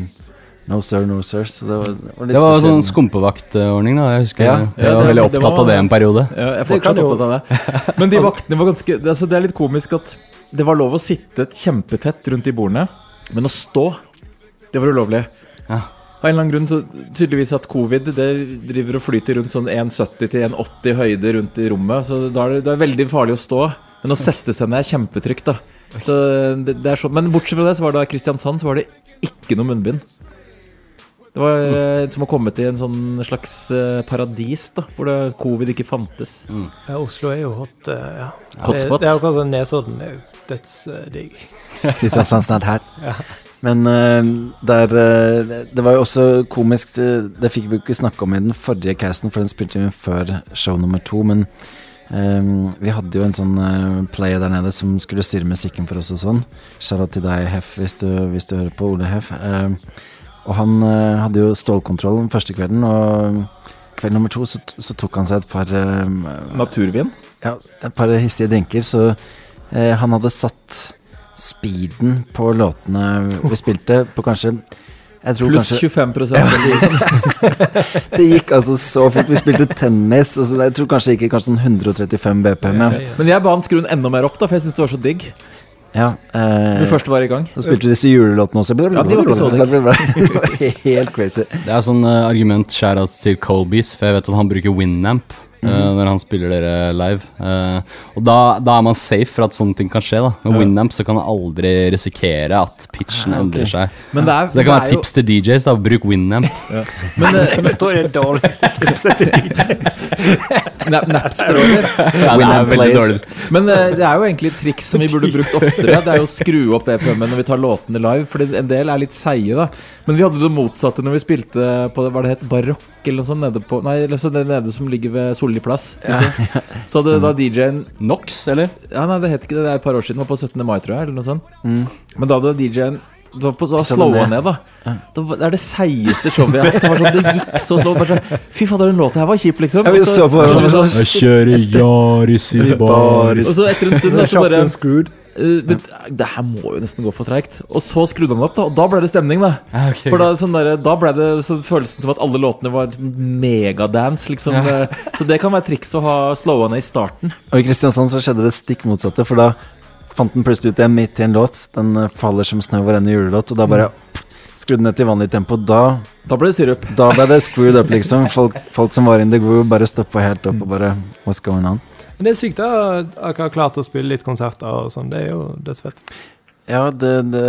No sir, no sir. Så det var, det var litt Det var spesielt. sånn skumpevaktordning, da. Jeg husker Ja. jeg Ja, var det- veldig det opptatt var- av det en periode. Ja, jeg er fortsatt opptatt av det. (laughs) Men de vaktene var ganske det- altså, Det er litt komisk at det var lov å sitte kjempetett rundt de bordene, men å stå, det var ulovlig. Av en eller annen grunn så tydeligvis at covid det driver og flyter rundt sånn 1,70 til 1,80 høyde rundt i rommet, så da er det, det er veldig farlig å stå. Men å sette seg ned er kjempetrygt, da. Så det, det er sånn. Men bortsett fra det, så var det da i Kristiansand så var det ikke noe munnbind. Det var eh, som å komme til en sånn slags eh, paradis, da, hvor det, covid ikke fantes. Ja, Oslo er jo hot. eh, ja. Hotspot. Det, det er akkurat som Nesodden. Det er jo dødsdigg. Kristiansand snart her. Ja. Men eh, der eh, Det var jo også komisk eh, Det fikk vi jo ikke snakke om i den forrige casten, for den spilte vi før show nummer to. Men eh, vi hadde jo en sånn eh, player der nede som skulle styre musikken for oss og sånn. Shout-out til deg, Hef, hvis du, hvis du hører på. Ole Hef. Eh, og han eh, hadde jo stålkontroll den første kvelden, og kveld nummer to så, så tok han seg et par eh, Naturvin? Ja, et par hissige drinker. Så eh, han hadde satt speeden på låtene vi spilte, på kanskje jeg tror Pluss kanskje- 25% Ja. eller det gikk altså så fort. Vi spilte tennis. Altså, jeg tror kanskje det gikk i kanskje sånn 135 BPM. Ja. Men jeg ba han skru den enda mer opp, da, for jeg syns det var så digg. Ja, eh, Når vi først var i gang. Så spilte vi disse julelåtene også. Ja, de var ikke så Det var Helt crazy. Det er sånn eh, argument shoutouts til Colbeats, for jeg vet at han bruker Winamp eh, Mhm. når han spiller dere live. Eh, og da, da er man safe for at sånne ting kan skje. da Med Ja. Winamp så kan man aldri risikere at pitchen Ah, ok. endrer seg. Men det er- så det kan det være er jo- tips til DJs. da Bruk Winamp. (laughs) Men, eh, (laughs) men- Jeg tror det er det (laughs) dårligste tipset til DJs. Na- Napster over. Ja, det er veldig dårlig. Men eh, det er jo egentlig et triks som vi burde brukt oftere. Det er jo å skru opp BPM-en når vi tar låtene live, for en del er litt seige, da. Men vi hadde det motsatte når vi spilte på det, var det het barokk eller noe sånt nede på Nei, altså det nede som ligger ved Solli plass. liksom. Så hadde da DJ-en Nox, eller? Ja, nei, det het ikke det. Det er et par år siden. Det var på 17. mai, tror jeg, eller noe sånt. Mm. Men da hadde DJ-en det var på så Ikke slowa den ned. ned, da. Det var- det er det seigeste showet jeg har hatt. Det var sånn, det gikk så slow. Bare sånn, Fy fader, den låta her var kjip, liksom. Ja, vi Og så på hverandre og så- sånn, Jeg kjører Yaris (laughs) i baris. Og så etter en stund da, så Shotgun bare screwed. eh, men det her må jo nesten gå for treigt. Og så skrudde han opp, da, og da ble det stemning. Da Ja, ok. For da, sånn der, da ble det så følelsen som at alle låtene var sånn megadance, liksom. Ja. eh, Så det kan være triks å ha slowa ned i starten. Og i Kristiansand så skjedde det stikk motsatte, for da fant den plutselig ut det midt i en låt. Den eh, faller som snø over ende julelåt, og da bare Mm. pff, skrudde den ned til vanlig tempo. Da Da ble det sirup. Da ble det screwed up, liksom. Folk, folk som var in the groove, bare stoppa helt opp og bare What's going on? Men det er sykt da, at dere har klart å spille litt konserter og sånn. Det er jo dødsfett. Ja, det, det,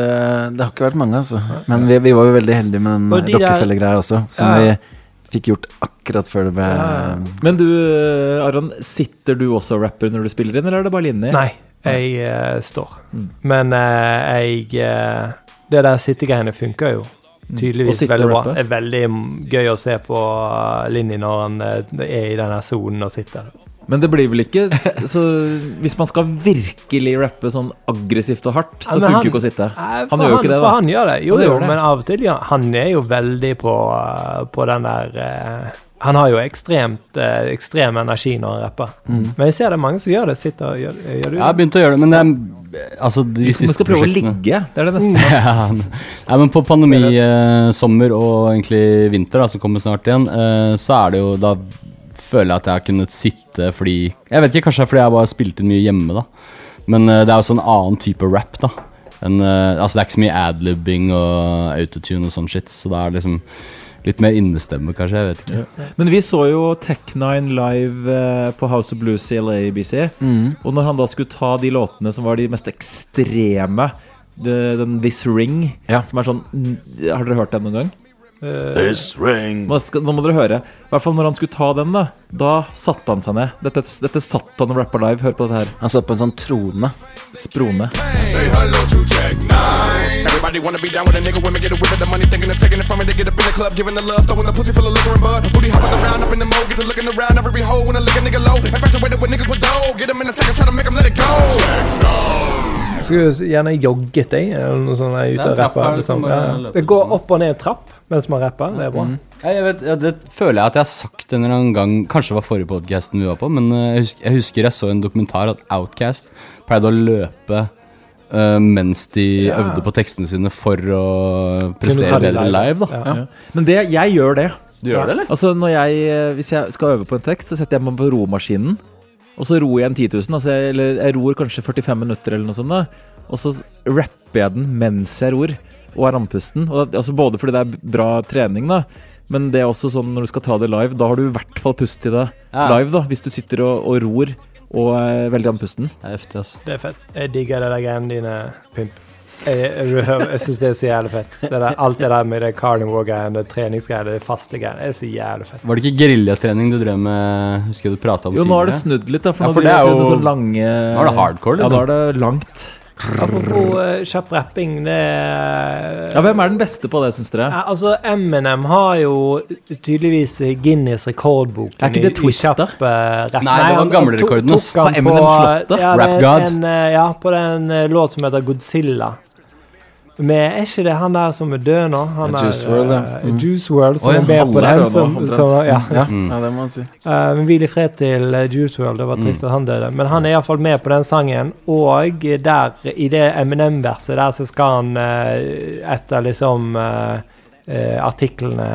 det har ikke vært mange, altså. Men vi, vi var jo veldig heldige med Og de den der- Rockefeller-greia også, som Ja. vi fikk gjort akkurat før det ble Men du, eh, Aron, sitter du også og rapper når du spiller inn, eller er det bare linje? Nei, jeg eh, står. Mm. Men eh, jeg eh, Det der sittegreiene funker jo. Og Tydeligvis sitte veldig bra. og rappe. Det er veldig gøy å se på Linni når han eh, er i denne sonen og sitter. Men det blir vel ikke Så hvis man skal virkelig rappe sånn aggressivt og hardt, så Ja, men funker han- jo ikke å sitte her. Nei, for Han gjør jo ikke det, for da. Han gjør det. Jo, Han gjør jo, det. men av og til ja, Han er jo veldig på, eh, på den der eh, Han har jo ekstremt eh, ekstrem energi når han rapper. Men jeg ser det er mange som gjør det. Sitter og gjør, gjør Jeg det. har begynt å gjøre det, men det er altså de Hvis man siste skal prøve å prosjektene ligge, det er det nesten. ja, Nei, men på pandemi, eh, sommer og egentlig vinter, da, som kommer snart igjen, eh, så er det jo da føler jeg at jeg har kunnet sitte fordi Jeg vet ikke, kanskje det er fordi jeg bare spilte mye hjemme, da. Men eh, det er jo sånn annen type rap, da. Enn, eh, altså det er ikke så mye adlibbing og autotune og sånn shit, så det er liksom litt mer innestemme, kanskje. Jeg vet ikke. Men vi så jo Tech9 live eh, på House of Blues i LABC. Og når han da skulle ta de låtene som var de mest ekstreme det- den This Ring, Ja. som er sånn Har dere hørt den noen gang? This ring. Nå, skal, nå må dere høre. I hvert fall når han skulle ta den, da. Da satte han seg ned. Dette, dette satt han og rappa live. Hør på dette her. Han satt på en sånn trone. Sprone. Say hello to Tech Nine. Everybody wanna be down with a nigga. Women get a whip of the money, thinking of taking it from me. They get up in the club, giving the love, throwing the pussy full of liquor and bud. Booty hopping around, up in the mode, get to looking around. Every hole when I lick a nigga low. Infatuated with niggas with dough. Get 'em in a second, try to make 'em let it go. Skulle jo gjerne jogget deg eller noe sånt. Jeg, Det er ute og trapp her, rapper, liksom. det ja. kommer løpende. Det går opp og ned trapp mens man rapper. Det er bra. Ja, jeg vet, ja, det føler jeg at jeg har sagt en eller annen gang Kanskje det var forrige podcasten vi var på Men eh, jeg husker, jeg husker jeg så en dokumentar At Outcast pleide å løpe eh, Mens de øvde på tekstene sine For å prestere ta de bedre live. live da. Ja. Ja. Men det, jeg gjør det. Du gjør det eller? Altså når jeg, eh, Hvis jeg skal øve på en tekst, så setter jeg meg på romaskinen. Og så ror jeg en 10 000. Altså jeg, eller jeg ror kanskje 45 minutter, eller noe sånt. da Og så rapper jeg den mens jeg ror, og er andpusten. Og, altså både fordi det er bra trening, da. Men det er også sånn når du skal ta det live, da har du i hvert fall pust i det Ja. live. da Hvis du sitter og, og ror og eh, er veldig andpusten. Det er heftig altså Det er fett. Jeg digger det der greiene dine, pimp. Jeg, jeg, jeg syns det er så jævlig fett. Det der, alt det der med det carnivore-greiene, det treningsgreiene, det faste greiene, det er så jævlig fett. Var det ikke geriljatrening du drev med Husker jeg du pratet om Jo, nå har det tidligere? snudd litt, da. For, Ja, nå for det driver er jeg til jo- sånn lange Nå er det hardcore, Ja, liksom. da er det langt. Apropos eh, kjapp rapping, det Ja, Hvem er den beste på det, syns dere? Ja, altså, Eminem har jo tydeligvis Guinness rekordboken Er ikke det i- i Twista? kjapp, eh, rap. Nei, det var han- gamle han to- rekorden, tok ass. han Var Eminem slått, da? Ja, Rap det er God? En, eh, ja, på den eh, låt som heter Godzilla. Men er ikke det han der som er død nå? Han Ja, er, Juice WRLD, ja. eh, Juice WRLD, som Å, ja, er med han på er den. død nå, Som, omtrent. som, ja. Ja, Mm. ja det må man si. Eh, Men hvil i fred til eh, Juice WRLD. Det var Mm. trist at han døde. Men han er iallfall med på den sangen. Og der, i det Eminem-verset der, så skal han eh, etter liksom eh, eh, artiklene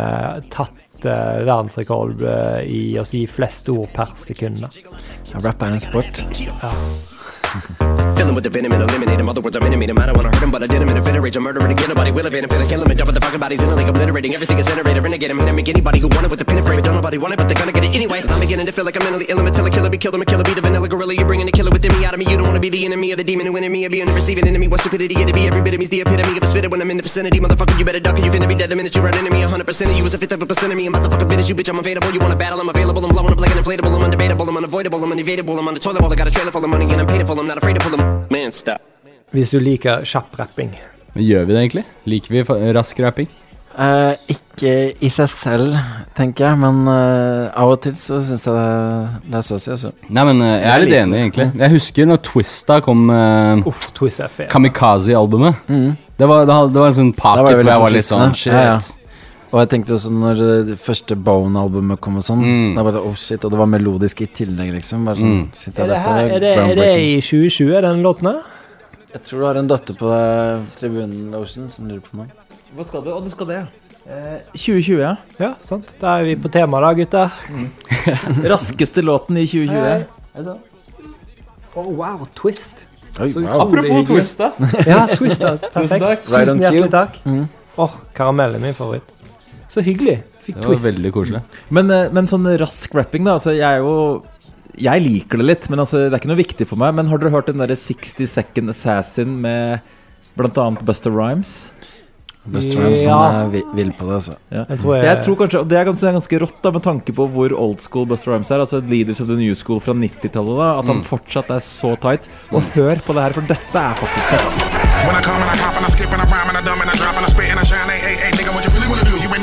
tatt eh, verdensrekord eh, i å si flest ord per sekund. da. Ja, rap er en sport. Filling with the venom and eliminate him. Other words, I'm intimate him. I don't wanna hurt him, but I did him in a fit of rage. I'm murdering again. Nobody will evade him. Finna kill him and dump the fucking bodies in a lake. Obliterating everything is generated. Renegade him. Hit him. Make anybody who wanted with the pin and frame. it. Don't nobody want it, but they're gonna get it anyway. i I'm beginning to feel like I'm mentally ill. I'm a killer. Kill be killed. I'm a killer. Be the vanilla gorilla. You're bringing the killer within me out of me. You don't wanna be the enemy of the demon who enemy. I'll be on the receiving enemy. What stupidity it'd be. Every bit of me's the epitome of a spitter when I'm in the vicinity. Motherfucker, you better duck or you finna be dead the minute you run into me. 100% of you is a fifth of a percent of me. I'm about to fucking finish you, bitch. I'm available. You wanna battle? I'm available. I'm blowing up like an inflatable. I'm undebatable. I'm unavoidable. I'm unevadable. I'm on the toilet bowl. I got a trailer full of money and I'm paid it full. I'm not afraid to pull them. Man, stop. Hvis du liker kjapp rapping. Men gjør vi det egentlig? Liker vi fa- rask rapping? Eh, ikke i seg selv, tenker jeg, men eh, av og til så syns jeg det, det er så å si, altså. Nei, men eh, jeg er Jeg litt liker enig egentlig Jeg husker når Twista kom eh, Uff, Twist er fet. Kamikaze-albumet det, var, det, hadde- det var en sånn Da var det pocket hvor veldig jeg var litt sånn forfriskende. Shit Ja, ja. Og jeg tenkte også når eh, det første Bone-albumet kom og sånn, da var det oh shit, og det var melodisk i tillegg, liksom. Bare sånn, shit, ja, Er det, dette her, er, det, er det groundbreaking. i 2020, den låten her? Jeg tror du har en datter på eh, tribunen, Lotion, som lurer på noe. Hva skal du? Å, du skal det, ja. Eh, 2020, (laughs) ja. Ja, sant. Da er vi på tema da, gutter. Raskeste låten i 2020. Hei, Oh, wow, twist. Oi, Så wow. utrolig Apropos hyggelig. twist, da. Ja, twist, da. Tusen takk. Perfekt. Right on Tusen hjertelig cue. takk. Åh, Mhm. karamell er min favoritt. Så hyggelig. Fikk twist. Men, eh, men sånn rask rapping, da. Altså, jeg er jo Jeg liker det litt, men altså, det er ikke noe viktig for meg. Men har dere hørt den derre 60 Second Assassin med blant annet Buster Rhymes? Busta Rhymes, han Ja. er vi- vill på det, altså. Jeg, Jeg tror tror jeg- kanskje og Det er ganske, ganske rått, da, med tanke på hvor old school Buster Rhymes er. Altså Leaders of the New School fra 90-tallet. da, At han Mm. fortsatt er så tight. Og hør på det her, for dette er faktisk fett. When I come and I hop and I skip and I rhyme and I dumb and I drop and I spit and I shine. Hey, hey, hey, nigga, what you really wanna do? You ain't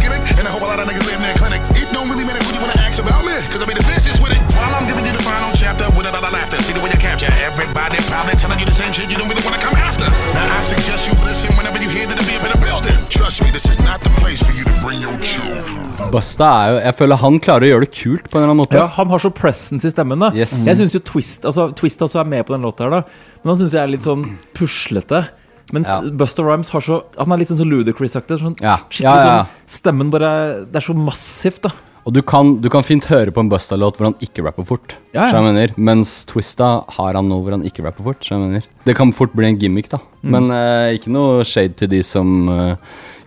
gimmick. And I hope a lot of niggas live in that clinic. It don't really matter who you wanna ask about me, cause I be defensive with it. While I'm giving you the final chapter with a lot of laughter. See the way you capture everybody, probably telling you the same shit you don't really wanna come after. Now I suggest you listen whenever you hear that it be up in a building. Trust me, this is not the place for you to bring your children. Busta er jo Jeg føler han klarer å gjøre det kult på en eller annen måte. Ja, han har så presence i stemmen. da Yes. Jeg synes jo Twist altså, Twist også er med på den låta, her da men han syns jeg er litt sånn puslete. Mens Ja. Buster Rhymes har så Han er litt sånn, sånn ludicrous-aktig. Sånn, Ja. Skikkelig Ja, ja, ja. sånn Stemmen bare Det er så massivt, da. Og du kan, du kan fint høre på en Busta-låt hvor han ikke rapper fort. Ja, ja. skjønner Jeg mener. Mens Twista har han noe hvor han ikke rapper fort. skjønner Jeg mener. Det kan fort bli en gimmick, da. Mm. Men eh, ikke noe shade til de som eh,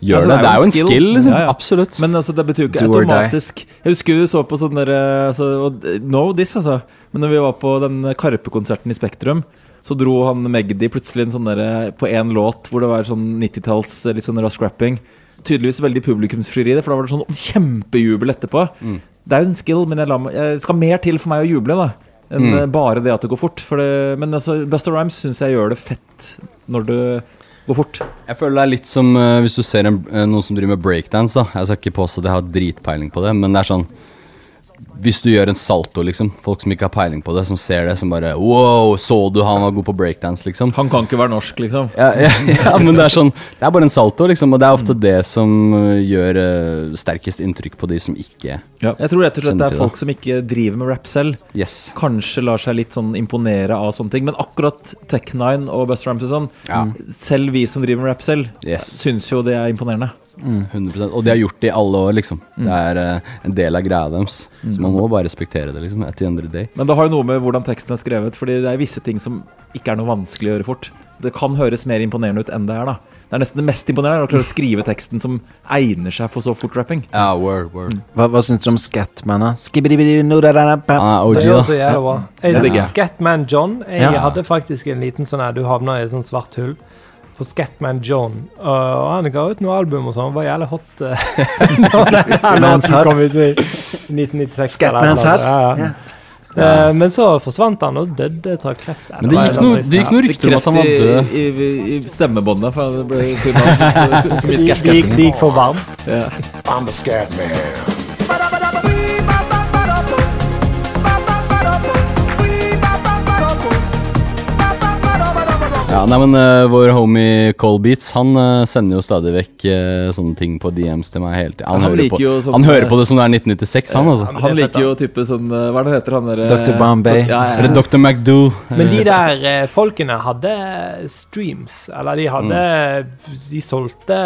gjør Altså, det. Det er jo en skill, liksom. Ja, ja. Absolutt. Men altså, det betyr jo ikke Do or die. automatisk Jeg husker vi så på sånn der eh, altså, og, eh, No this, altså. Men når vi var på den Karpe-konserten i Spektrum, så dro han Magdi plutselig en sånn der, eh, på én låt hvor det var sånn 90-talls eh, litt sånn rask rapping. Tydeligvis veldig publikumsfrieri, for da var det sånn kjempejubel etterpå. Det er jo en skill, men jeg, la meg, jeg skal mer til for meg å juble da enn Mm. eh, bare det at det går fort. For det, men altså, Buster Rhymes syns jeg gjør det fett når det går fort. Jeg føler det er litt som eh, hvis du ser en, eh, noen som driver med breakdance. da Jeg skal ikke påstå at jeg har dritpeiling på det, men det er sånn Hvis du gjør en salto, liksom. Folk som ikke har peiling på det, som ser det, som bare Wow, så du han var god på breakdance, liksom. Han kan ikke være norsk, liksom. Ja, (laughs) ja, ja, men det er sånn Det er bare en salto, liksom. Og det er ofte det som eh, gjør eh, sterkest inntrykk på de som ikke Jeg tror rett og slett det Skjønner er du folk som ikke driver med rap selv. Kanskje lar seg litt sånn imponere av sånne ting. Men akkurat Tech9 og Best Rams og sånn, Ja. selv vi som driver med rap selv, syns jo det er imponerende. 100 Og de har gjort det i alle år, liksom. Det er eh, en del av greia deres. Mm. Så man må bare respektere det, liksom. At the end of the day. Men det har jo noe med hvordan teksten er skrevet, Fordi det er visse ting som ikke er noe vanskelig å gjøre fort. Det kan høres mer imponerende ut enn det er, da. Det er nesten det mest imponerende er å klare å skrive teksten som egner seg for så fort rapping. Ja, word, word. Hva, hva syns dere om Scatman, da? Ah, det er også jævlig bra. Jeg, Scatman John. Jeg Ja. hadde faktisk en liten sånn her Du havna i et sånt svart hull. På Scatman John. Og og han ga ut noe album og sånn. Var jævlig hot. eh, (laughs) når den her Man's låten Heart. kom ut i 1996. eller Scatman's noe. Heart. Ja, ja. Ja. Eh, Men så forsvant han og døde av kreft. Nei, Men det var gikk jævlig noe- trist, det gikk ja. noe rykter om at han var Kreft død. i, i, i stemmebåndet. For det ble for mye (laughs) så- så mye De- skesketting. de- de gikk for varm. Ja. I'm the scat man. Ja, nei, men eh, vår homie Cole Beats Han eh, sender jo stadig vekk eh, sånne ting på DMs til meg hele tiden. Han, Han hører, liker på, jo sånn- han hører på det som det er 1996, han altså. Han liker jo type sånn eh, Hva er det heter han der eh, Dr. Bombay. dok- Ja, ja, ja. Eller Dr. McDo. Men de der eh, folkene hadde streams. Eller de hadde Mm. De solgte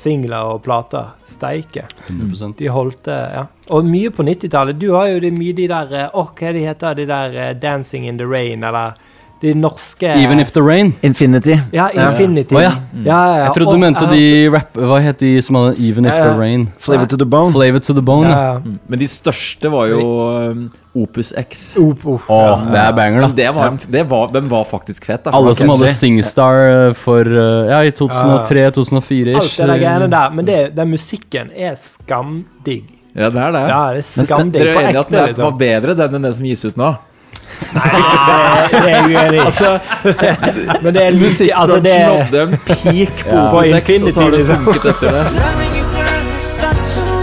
singler og plater. Steike. 100%. De holdt det, ja. Og mye på 90-tallet. Du har jo de mye de der eh, Åh, hva er de heter de der eh, Dancing in the Rain, eller de norske Even if the rain. Infinity. Ja, Infinity. Å ja. Ja, ja, ja. Jeg trodde Og du mente jeg de rapp... Hva het de som hadde Even if Ja, ja. the rain? Flavor to the bone. Flavor to the bone, ja. Mm. Men de største var jo eh, Opus X. Åh, det er banger, da. Men Det var, det var, den var faktisk fet. Da. Alle som Kan jeg hadde si. Singstar eh, for eh, Ja, i 2003-2004. Alt det der greiene der. Men det, den musikken er skamdigg. Ja, det er det. Ja, det er skamdigg Dere på er enige at ekte, den er- liksom. var bedre den enn den som gis ut nå? Det er jeg uenig i. Altså, Men det er like altså, det Musikkbransjen er, hadde en peak på Ja. Altså, Opus X, og så har det Infinity, liksom. sunket etter det. Loving you, girl, is such a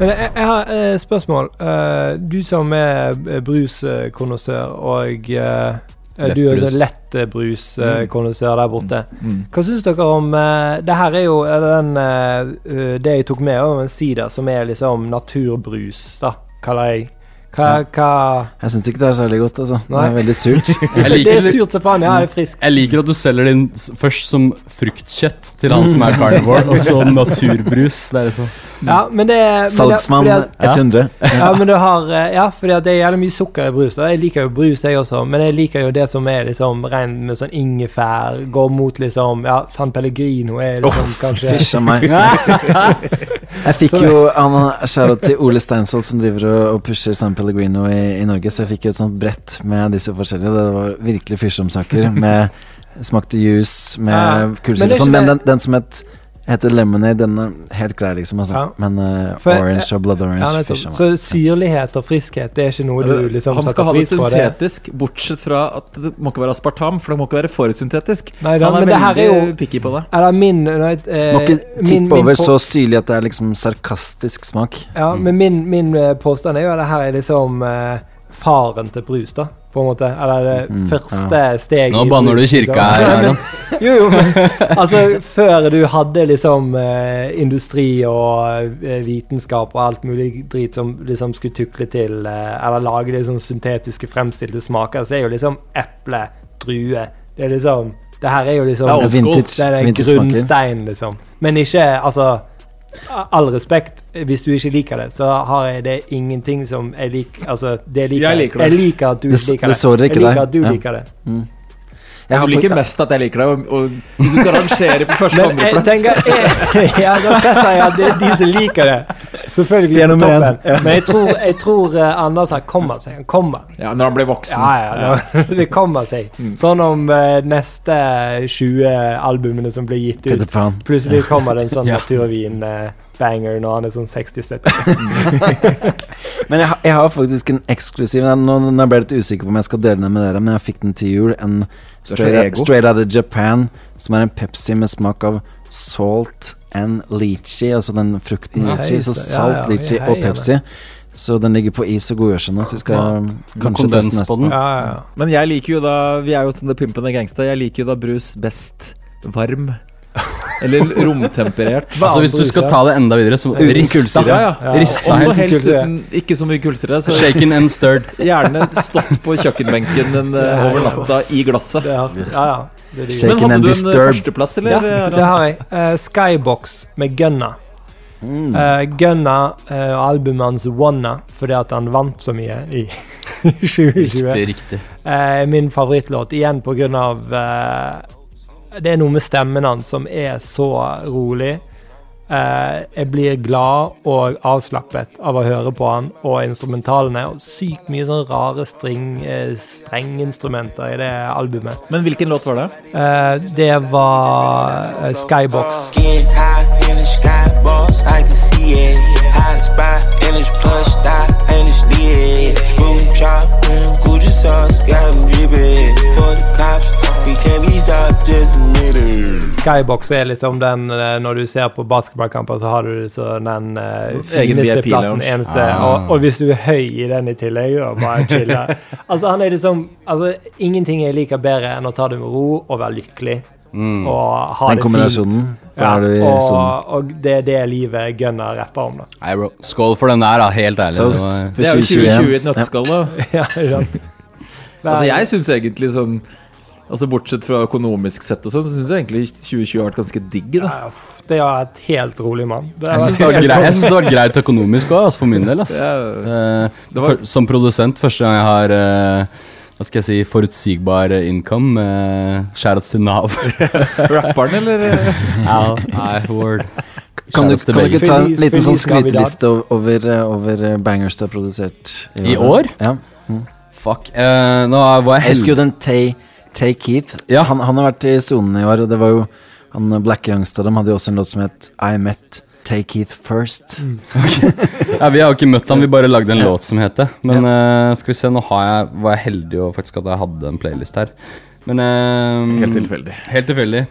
Men jeg, jeg har et spørsmål. Eh, Du som er bruskonnissør, og eh, du er Lettbrus. også lettbruskonnissør eh, der borte. Mm. Hva syns dere om eh, Det her er jo eh, den, eh, eh, det jeg tok med, er en sida som er liksom naturbrus, da, kaller jeg. Hva, hva Jeg syns ikke det er særlig godt, altså. Det Nei. er veldig (laughs) surt. Det er surt som faen, ja, det er friskt. Jeg liker at du selger din s- først som fruktkjøtt til han som er carnivore, og så naturbrus. Det er liksom Ja, men det men det- Salgsmann fordi at- 100. Ja, men du har eh, Ja, fordi at det er jævlig mye sukker i brus. Og jeg liker jo brus, jeg også, men jeg liker jo det som er liksom ren med sånn ingefær. Går mot liksom Ja, San Pellegrino er liksom Åh, kanskje fysj a (laughs) meg. Jeg fikk Så- jo han skjæra til Ole Steinsvold, som driver og, og pusher San Pellegrino i, i Norge, så jeg fikk jo et sånt brett med disse forskjellige. Det var virkelig fyrsommsaker. Med smakte juice, med Ja, ja. Men kullsyre det og er sånn. ikke Men det- den, den som het heter lemonade, den er helt grei, liksom. Altså. Ja. Men eh, For- orange og blood orange, Ja, nettopp. fysj a meg. Så syrlighet og friskhet, det er ikke noe du liksom han setter skal ha det pris på, syntetisk, bortsett fra at det må ikke være aspartam, for det må ikke være for syntetisk. Nei, Så da, han men det her er er veldig jo- picky på det. Eller min når jeg- eh, Må ikke min- tippe min over på- så syrlig at det er liksom sarkastisk smak. Ja, Mm. men min, min eh, påstand er jo at det her er liksom eh, faren til brus, da. På en måte. Eller det Mm, første ja. steget Nå i banner brus, du kirka liksom. (laughs) Nei, her, men- jo, jo, men altså før du hadde liksom eh, industri og eh, vitenskap og alt mulig drit som liksom skulle tukle til eh, Eller lage liksom syntetiske fremstilte smaker, så er jo liksom eple, drue Det er liksom Det her er jo liksom Det er old school. Vintage- Det er en vintage-smaker. grunnstein, liksom. Men ikke Altså All respekt, hvis du ikke liker det, så har jeg det ingenting som jeg liker Altså, det liker Jeg liker det. Jeg liker at du Det s- det liker det. sårer ikke jeg liker deg. at du Ja. liker det. Mm. Du liker mest at jeg liker deg, og, og hvis du skal rangere på første Men og andreplass jeg tenker, jeg, ja, da setter jeg at det er de som liker det. Selvfølgelig Det er på nummer én. toppen. Men jeg tror, jeg tror eh, Anders her kommer seg. Han kommer. Ja, når han blir voksen. Ja, ja, det, det kommer seg. Sånn om eh, neste 20 albumene som blir gitt Peter ut, Pan. plutselig Ja. kommer det en sånn Ja. naturvin-banger når han er sånn 60-70. Men jeg, har- jeg har faktisk en eksklusiv Nå, nå nå ble jeg litt usikker på om jeg skal dele den med dere, men jeg fikk den til jul. En så straight, ego. straight Out of Japan, som er en Pepsi med smak av salt and lychee. Altså den frukten Ja, lychee. Så hei, salt, ja, ja, lychee hei, og ja, det. Pepsi. Så den ligger på is og godgjør seg nå, så vi skal Ja. kanskje teste nesten. Men jeg liker jo da Vi er jo sånne pimpende gangster. Jeg liker jo da brus best varm. Eller romtemperert. (laughs) Altså Hvis du skal ta det enda videre, så Uten rista. kullsyre. Ja, ja. Rista Også helst. helst uten ikke så mye kullsyre. Så Shaken and stirred. Gjerne stått på kjøkkenbenken en, eh, over natta i glasset. Ja, ja. Det er det. Men hadde du en eh, førsteplass, eller? Ja, Harald? det har jeg. Eh, Skybox med Gunna. Mm. Eh, Gunna eh, og albumet hans Wanna, fordi at han vant så mye i (laughs) 2020. Riktig, riktig. Eh, min favorittlåt, igjen på grunn av eh, Det er noe med stemmen hans som er så rolig. Eh, jeg blir glad og avslappet av å høre på han og instrumentalene. Og sykt mye sånn rare string, eh, strengeinstrumenter i det albumet. Eh, Men hvilken låt var det? det var eh, Skybox. Getting high in the sky, boss, I can see it. Hot spot in this plush, dot in this lid. Spoon chop, mm, Gucci sauce, got 'em dripping. For the cops, we can't be stopped, just admit it. Skybox er liksom den eh, Når du ser på basketballkamper, så har du så den eh, Egen fineste VIP plassen. lounge. Eneste, Ah. og, og hvis du er høy i den i tillegg, og bare chiller Altså, han er liksom Altså, ingenting jeg liker bedre enn å ta det med ro og være lykkelig. Mm. Og ha Den det kombinasjonen, fint. da er du i og, sonen. og det er det livet Gunnar rapper om, da. (laughs) Nei, bro. Skål for den der, da. Helt ærlig. Toast. var- Det er jo 2020 i et nøtteskall, da. Ja, ikke sant? Altså, jeg syns egentlig sånn Altså Bortsett fra økonomisk sett og sånn, så syns jeg egentlig 2020 har vært ganske digg, da. Det er et helt rolig mann. Det er- Jeg syns det var greit, jeg synes det var greit økonomisk òg, altså for min del. ass. Eh, for, som produsent, første gang jeg har eh, hva skal jeg si, forutsigbar eh, income. Uh, Shoutouts (laughs) til Nav. Rapperen, eller? Ja, nei, word. Kan du, Shoutouts til kan du begge. ikke ta en liten sånn skryteliste ov- over, eh, over eh, bangers du har produsert I år? Ja. Fuck. eh, nå var jeg Jeg husker jo den Tay, Tay Keith. Han, han har vært i sonen i år, og det var jo han eh, Black Youngstad de hadde jo også en låt som het I Met Tay Keith First. Ja, Vi har jo ikke møtt ham, vi bare lagde en låt som het det. Men eh, skal vi se, nå har jeg, var jeg heldig og faktisk at jeg hadde en playlist her. Men eh, Helt tilfeldig. Helt tilfeldig.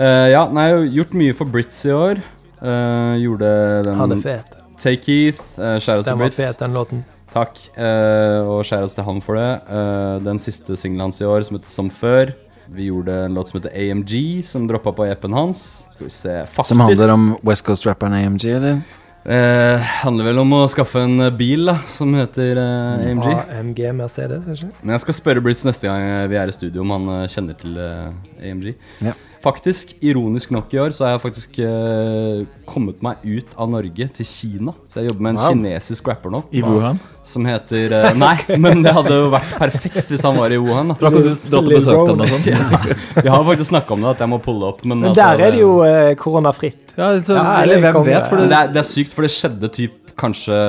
Eh, ja, nei, jeg har gjort mye for Brits i år. Eh, gjorde den Han er fet. Tay Keith. Uh, Shoutouts Den til var Brits. fet, den låten. Takk. eh, og shoutouts til han for det. Eh, den siste singelen hans i år, som heter Som før. Vi gjorde en låt som heter AMG, som droppa på appen hans. Skal vi se Faktisk. Som handler om West Coast-rapperen AMG, eller? Eh, handler vel om å skaffe en eh, bil, da, som heter eh, AMG. AMG Mercedes, er det ikke? Men jeg skal spørre Brits neste gang vi er i studio om han eh, kjenner til eh, AMG. Ja. Faktisk, ironisk nok i år, så har jeg faktisk eh, kommet meg ut av Norge til Kina. Så jeg jobber med en Wow. kinesisk rapper nå. I Wuhan? Som heter eh, Nei, men det hadde jo vært perfekt hvis han var i Wuhan. For da kan du dra til Lil besøke Bro. den og sånn. Ja. Jeg har faktisk snakka om det, at jeg må pulle opp. Men, Men altså, der er det jo eh, koronafritt. Ja, sånn- det er konge. Men det, er, det er sykt, for det skjedde typ kanskje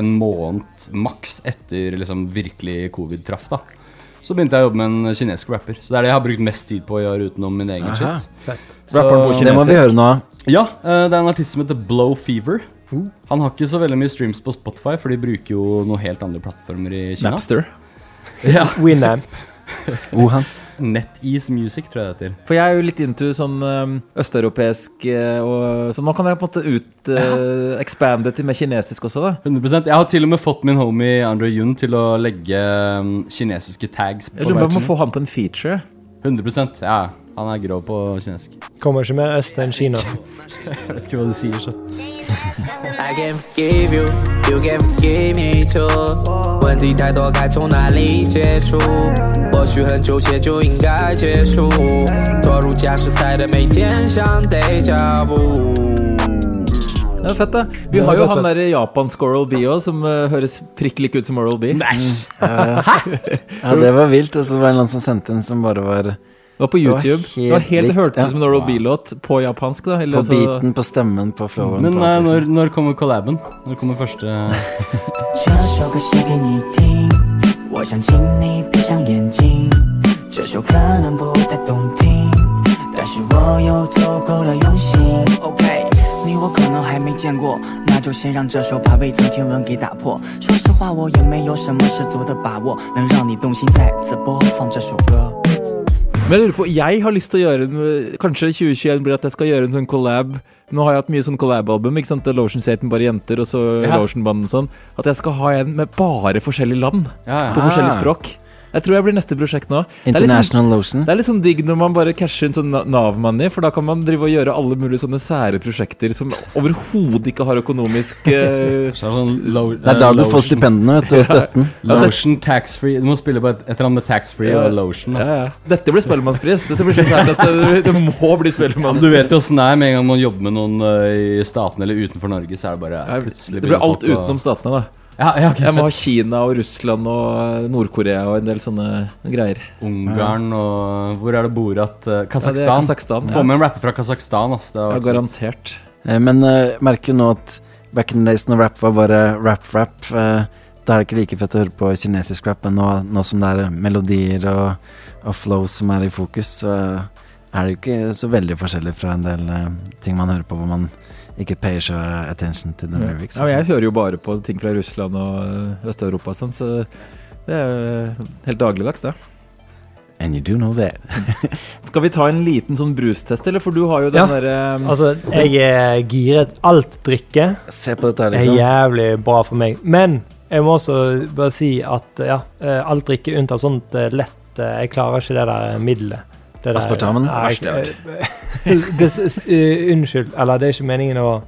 en måned maks etter liksom virkelig covid traff, da. Så begynte jeg å jobbe med en kinesisk rapper. Så det er det jeg har brukt mest tid på å gjøre utenom min egen Aha. shit. Fett. Rapperen på kinesisk. Det må vi høre nå. Ja, eh, det er en artist som heter Blow Fever. Uh. Han har ikke så veldig mye streams på Spotify, for de bruker jo noen helt andre plattformer i Kina. Napster. Ja. Winamp. Wuhan. NetEase Music, tror jeg det heter. For jeg er jo litt into sånn øhm, østeuropeisk øh, og Så nå kan jeg på en måte ut øh, expande til med kinesisk også, da. 100%. Jeg har til og med fått min homie Andre Yun til å legge mm, kinesiske tags på Jeg lurer på om jeg må merchen. få han på en feature. 100 ja. Han er grå på kinesisk. Kommer ikke mer øst enn Kina. Jeg vet ikke hva du sier, så. I can give you, you can give me too。问题太多，该从哪里解除？或许很久前就应该结束。落入家是赛的每天像 deja vu。 Det er fett, da. Vi Ja, har det jo er han fett. der japansk Oral B òg, som øh, høres prikk lik ut som Oral Mm. B. Eh, Ja, det var vilt. Og så var det noen som sendte en som bare var Det var på YouTube. Det var helt, det hørtes ut som en Oral B-låt på japansk. da eller altså- På så- beaten, på stemmen, på flowen. Men på eh, alt, liksom. når, når kommer collaben? Når kommer første (laughs) 这首歌写给你听，我想请你闭上眼睛。这首可能不太动听，但是我又足够的用心。OK，你我可能还没见过，那就先让这首把未曾听闻给打破。说实话，我也没有什么十足的把握，能让你动心再次播放这首歌。 Men jeg lurer på, jeg har lyst til å gjøre en Kanskje 2021 blir at jeg skal gjøre en sånn collab. Nå har jeg hatt mye sånn collab-album. ikke sant? Det er Lotion Satan, bare jenter, og så Ja. Lotion Band og sånn. At jeg skal ha en med bare forskjellige land. Ja, ja. På forskjellige Ah. språk. Jeg tror jeg blir neste prosjekt nå. Det er litt sånn- International Lotion. det er litt sånn digg når man bare casher inn sånn Na- Nav-money, for da kan man drive og gjøre alle mulige sånne sære prosjekter som overhodet ikke har økonomisk (laughs) eh, sånn Det er da du får stipendene, vet du, og støtten. Ja. eh, Lotion taxfree. Du må spille på et, et eller annet med taxfree Ja. og lotion. Ja, ja. Dette blir Spellemannspris. Dette blir så sært at det, det må bli Spellemannspris. Altså, Du vet jo åssen det er med en gang man jobber med noen eh, i statene eller utenfor Norge, så er det bare ja, plutselig Det blir begynner alt folk å- utenom statene, da. Ja, ja, ok, jeg må ha fett. Kina og Russland og eh, Nord-Korea og en del sånne greier. Ungarn og Hvor er det Borat? Eh, Kasakhstan. Ja, det er Kasakhstan, Få ja. med en rapper fra Kasakhstan. ass. Det har Ja, vært garantert. Eh, Men eh, merker jo nå at back in the days når rap var bare rap-rap, da er det ikke like fett å høre på kinesisk rap, men nå, nå som det er eh, melodier og, og flow som er i fokus, så eh, er det jo ikke så veldig forskjellig fra en del eh, ting man hører på hvor man ikke payer så attention to the Mm. Ja. lyrics. altså. Ja, men jeg hører jo bare på ting fra Russland og eh, Øst-Europa og sånn, så det er jo helt dagligdags, det. And you do know that. Skal vi ta en liten sånn brustest, eller? For du har jo den Ja. derre eh, Altså, jeg er giret. Alt drikke Se på dette her, er liksom. jævlig bra for meg. Men jeg må også bare si at ja, eh, alt drikke unntatt sånt eh, lett eh, Jeg klarer ikke det der middelet. Det der- Aspartamen? Nei, Verst jeg har eh, (laughs) det s- s- eh, Unnskyld. Eller det er ikke meningen å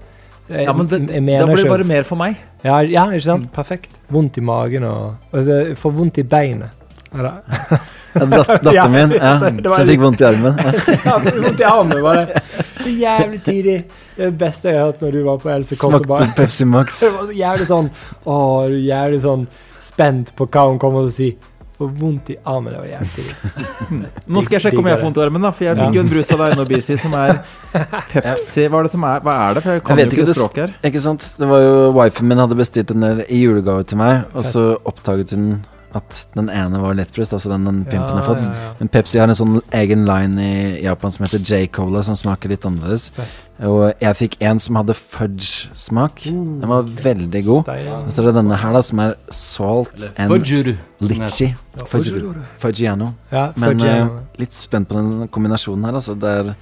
jeg- Ja, men det, jeg da mener blir det ikke- bare mer Mm, for meg. Ja, ja, ikke sant? Perfekt. Vondt i magen og altså, Får vondt i beinet. Eller? Ja, dat- Datteren (laughs) min, ja, det var som litt- fikk vondt i armen. (laughs) Ja, vondt i armen var det. Så jævlig tidlig. Det er det beste jeg har hørt når du var på Else Kåss. og bare- Smakte Pepsi Max. Det var så jævlig sånn Åh, du er jævlig sånn spent på hva hun kommer til å si. Får vondt i armen. Det var jævlig tidlig. Nå skal jeg sjekke om jeg Digger får vondt i armen, da, for jeg Ja. fikk jo en brus av deg nå, Bisi, som er Pepsi Hva er det som er Hva er det? For jeg kan jo ikke det- språket her. Ikke sant? Det var jo Wifen min hadde bestilt en del i julegave til meg, og så oppdaget hun at den ene var lettbrust, altså den den (laughs) pimpen har fått. ja, ja. Men Pepsi har en sånn egen line i Japan som heter J-Cola, som smaker litt annerledes. Fett. Og jeg fikk en som hadde fudge-smak. Den var veldig god. Steil. Og så er det denne her, da, som er salt and fudgeru, som den litchi. heter. Ja, Fudgeru. fudgeru. Fudgiano. Ja, Men fudgiano. eh, litt spent på den kombinasjonen her, altså. Det er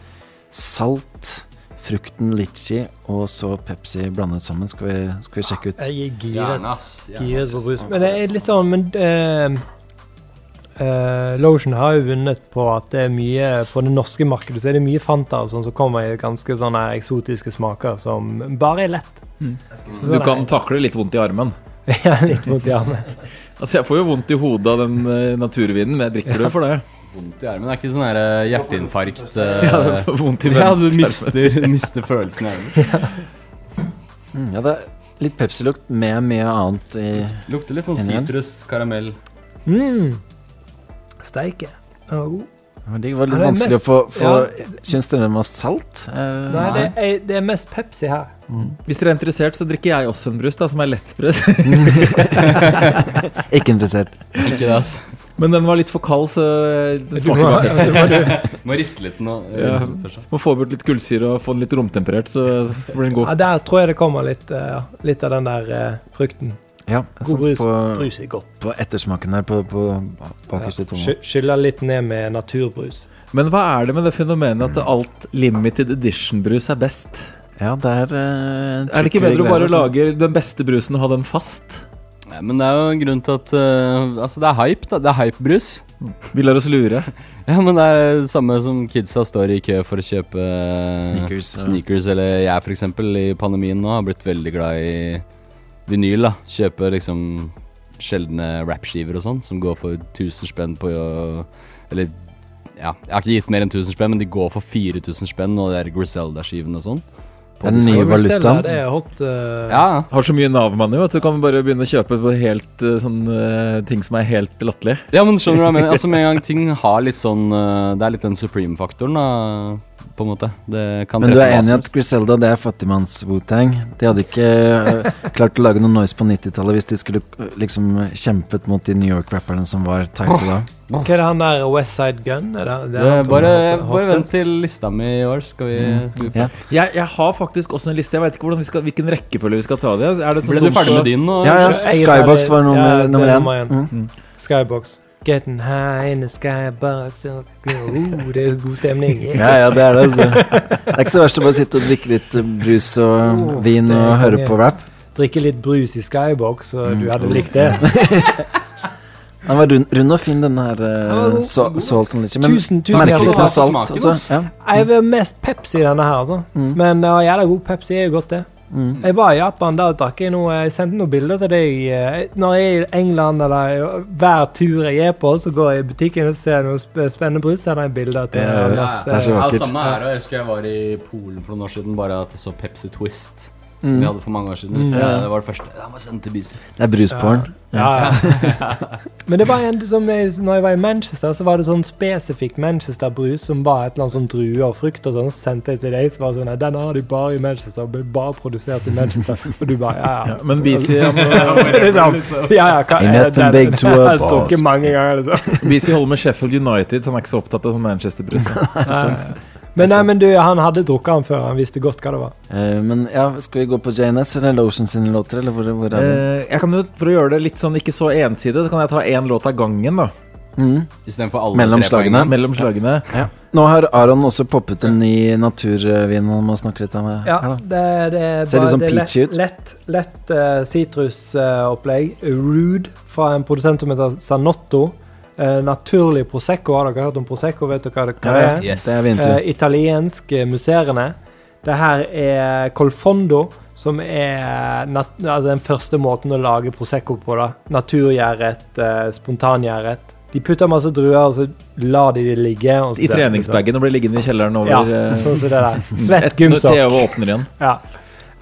salt frukten litchi og så Pepsi blandet sammen. Skal vi, skal vi sjekke ut? Jeg er Gjerne, giret. ass. Gjerne, Giret på brus. Men det er litt sånn Men eh, eh, Lotion har jo vunnet på at det er mye På det norske markedet så er det mye Fanta og sånn som kommer i ganske sånne eksotiske smaker som bare er lett. Mm. sånn Du kan takle litt vondt i armen. (laughs) Ja, litt vondt i armen. altså, jeg får jo vondt i hodet av den eh, naturvinen, men jeg drikker det for det. Vondt i armen er ikke sånn her eh, (laughs) hjerteinfarkt eh, Ja, det får vondt i Ja, du venstrearmen. mister, (laughs) mister følelsen i armen. Mm, Ja, det er litt Pepsi-lukt med mye annet i Lukter litt sånn inni den. sitrus, karamell. Mm. Steike. Den var god. Men Det var litt Ja, det er vanskelig å mest- få, få ja. Syns dere den var salt? Eh, Nei, det er, det er mest Pepsi her. Hvis dere er interessert, så drikker jeg også en brus (laughs) da, som er lettbrus. Ikke interessert. (laughs) Ikke det, ass. Men den var litt for kald, så eh, den Du må- smakte (laughs) bare du må- Pepsi. (laughs) må riste litt nå, eh, Ja. først. (laughs) Må få bort litt kullsyre og få den litt romtemperert, så så blir den Ja, god. der tror jeg det kommer litt, eh, litt av den der eh, frukten. (laughs) Ja, sånn God brus. På, brus er godt. På ettersmaken der på, på bakerste Ja, tunga. sky- Skyller litt ned med naturbrus. Men hva er det med det fenomenet at alt limited edition-brus er best? Ja, det er eh, Er det ikke bedre å bare lage den beste brusen og ha den fast? Nei, men det er jo en grunn til at eh, Altså, det er hype, da. Det er hypebrus. Vi lar oss lure. Ja, men det er det samme som kidsa står i kø for å kjøpe eh, Sneakers, ja. sneakers eller jeg, for eksempel, i pandemien nå har blitt veldig glad i vinyl, da. Kjøpe liksom sjeldne rappskiver og sånn, som går for 1000 spenn på Eller ja, jeg har ikke gitt mer enn 1000 spenn, men de går for 4000 spenn, og det er Griselda-skivene og sånn. På Den nye disko. valutaen. Det er hot. eh, Ja. Har så mye Nav-money at du kan bare begynne å kjøpe på helt eh, sånn eh, ting som er helt latterlig. Ja, men skjønner du hva jeg mener? Altså, med en gang ting har litt sånn eh, Det er litt den supreme-faktoren, da, på en måte. Det kan Men du er treffe hva enig i som at Griselda det er fattigmanns-Wutang? De hadde ikke eh, klart å lage noe noise på 90-tallet hvis de skulle eh, liksom kjempet mot de New York-rapperne som var tighte da. Hva er det han der West Side Gun? Er det, det er Det han er som bare er hot- bare hottest? vent til lista mi i år, skal vi skal vi- Ja. Jeg, jeg har faktisk også en liste. Jeg vet ikke hvordan vi skal, hvilken rekkefølge vi skal ta det. i. Er det sånn Ble du dumt ferdig å- med din nå? Ja, ja, Jeg er Skybox ferdig. var nummer, Ja, det er nummer Mm. nummer én. én. Skybox. Getting high in the (laughs) skybox. Oh, det er god stemning. Ja, ja, det er det, altså. Det er ikke så verst å bare sitte og drikke litt eh, brus og vin det og er høre konge. på rap. Drikke litt brus i skybox, så Mm. du hadde likt det. Den var rund, rund og fin, den her var uh, god. so, salt and litchi. Men Tusen- tusen merkelig hjertelig ikke noe takk. salt. Smaken, Altså. ass. Ja. Jeg vil mest Pepsi i denne her, altså. Men ja, jævla god Pepsi er jo godt, det. Mm. Jeg var i Japan, der drakk jeg noe Jeg sendte noen bilder til deg. eh, Når jeg er i England eller hver tur jeg er på, så går jeg i butikken og ser noe sp- spennende brus, sender jeg bilder til Ja, ja, deg. ja. Ja, Det er så ja, vakkert. samme her, og jeg husker jeg var i Polen for noen år siden, bare at jeg så Pepsi Twist. Som vi hadde for mange år siden. husker jeg. Det var det første. Ja, må sende til Bise. Det er brusporn. Ja, ja. (laughs) Men det var en som jeg, når jeg var i Manchester, så var det sånn spesifikt Manchester-brus som var et eller annet sånn druer og frukt og sånn. Så sendte jeg til deg, så var det sånn Nei, den har de bare i Manchester. og Ble bare produsert i (laughs) Manchester. Og du bare Ja, ja. Men BC, han, Liksom, ja, ja, hva Ain't er nothing big den? to a (laughs) Jeg tok ikke mange ganger, liksom. BC holder med Sheffield United, så han er ikke så opptatt av sånn Manchester-brus. da. Men nei, men du, han hadde drukket han før. Han visste godt hva det var. Eh, men ja, skal vi gå på JNS eller Lotion sine låter, eller hvor, hvor er vi? (laughs) Eh, jeg kan jo, For å gjøre det litt sånn ikke så ensidig, så kan jeg ta én låt av gangen. da Mm. Istedenfor alle Mellom tre slagene. poengene. Mellom slagene. Nå har Aron også poppet en ny naturvin han må snakke litt om. Ja, her da. det, det er Ser litt sånn det er peachy ut. Lett, lett eh, sitrusopplegg. Rude fra en produsent som heter Sanotto. Eh, naturlig Prosecco. Har dere hørt om Prosecco? Vet dere hva det hva Ja, det ja. er? Yes. Det er vinter. Eh, italiensk eh, musserende. Det her er Colfondo, som er nat altså den første måten å lage Prosecco på. da. Naturgjæret, eh, spontangjæret. De putter masse druer, og så lar de de ligge. og så I dør de, liksom. treningsbagen og blir liggende i kjelleren over Ja, eh, sånn som det (laughs) der. Svett et- når gymsokk. TV åpner igjen. Ja.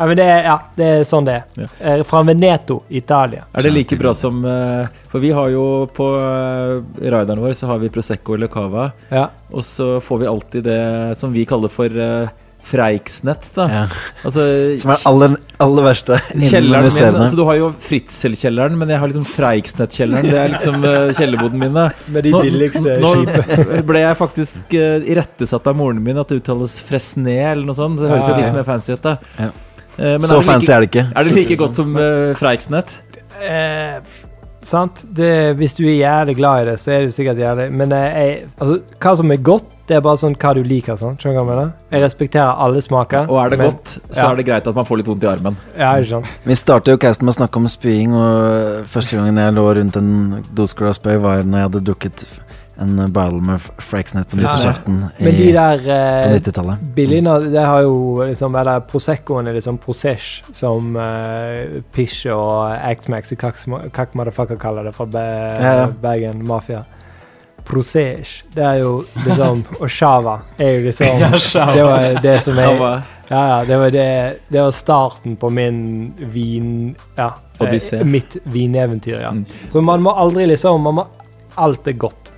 ja, men det er, ja, det er sånn det er. Eh, Fra Veneto, Italia. Er det like bra som eh, For vi har jo på eh, rideren vår så har vi Prosecco eller Cava. Ja. Og så får vi alltid det som vi kaller for eh, freiksnett. Da. Ja. Altså, Som er det aller, aller verste innen Kjelleren min, museene. altså Du har jo Fritzelkjelleren, men jeg har liksom Freiksnettkjelleren. Det er liksom eh, kjellerboden min. da. Med de Nå- billigste Nå skipene. ble jeg faktisk eh, irettesatt av moren min at det uttales Fresné eller noe sånt. Det høres jo Ah, Ja, ja. litt mer fancy ut, da. Ja. Eh, men Så er det fancy like, er det ikke. er det like godt som eh, Freiksnett? Eh, Sant? Det, hvis du er jævlig glad i det, så er du sikkert jævlig Men eh, jeg, altså, hva som er godt, det er bare sånn hva du liker. Sånn. Skjønner du hva jeg mener? Jeg respekterer alle smaker. Og er det men- godt, så ja. er det greit at man får litt vondt i armen. Ja, ikke sant. Vi startet jo casten med å snakke om spying, og første gangen jeg lå rundt en doskål og spøy, var når jeg hadde drukket en bottle med Fraxnet på nisseskjeften i- Men de der eh, på 90-tallet. Billina, det har jo liksom Eller Proseccoen er liksom Prosesj, som eh, Pish og Axmax i Kakk Motherfucker kaller det fra Be ja. Bergen Mafia. Prosesj, det er jo liksom (laughs) Og Shava er jo liksom Ja, Shava. Det var det som jeg Shava. Ja, ja, det var det Det var starten på min vin... Ja. Odyssé. Mm. eh, Mitt vineventyr, ja. Så man må aldri liksom Man må Alt er godt.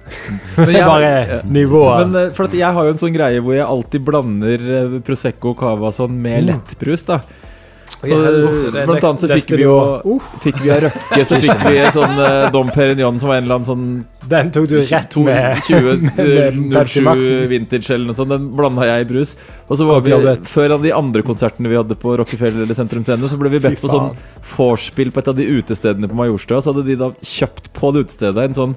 (laughs) Men Det er bare ja. nivået. Men, eh, for at jeg har jo en sånn greie hvor jeg alltid blander eh, Prosecco og Cava sånn med lettbrus, da. Mm. Oi, Så, eh, helvete, det er blant annet så neste fikk vi jo nivå. Fikk vi av Røkke, så fikk vi en sånn eh, Dom Perignon som var en eller annen sånn Den tok du rett med- (laughs) 20, med- med Pepsi 07 Maxen. vintage eller noe sånt. Den blanda jeg i brus. Og så var Godt vi jobbet. Før av de andre konsertene vi hadde på Rockefeller eller Sentrum Scene, så ble vi bedt Fy på sånn vorspiel på et av de utestedene på Majorstua. Så hadde de da kjøpt på det utestedet en sånn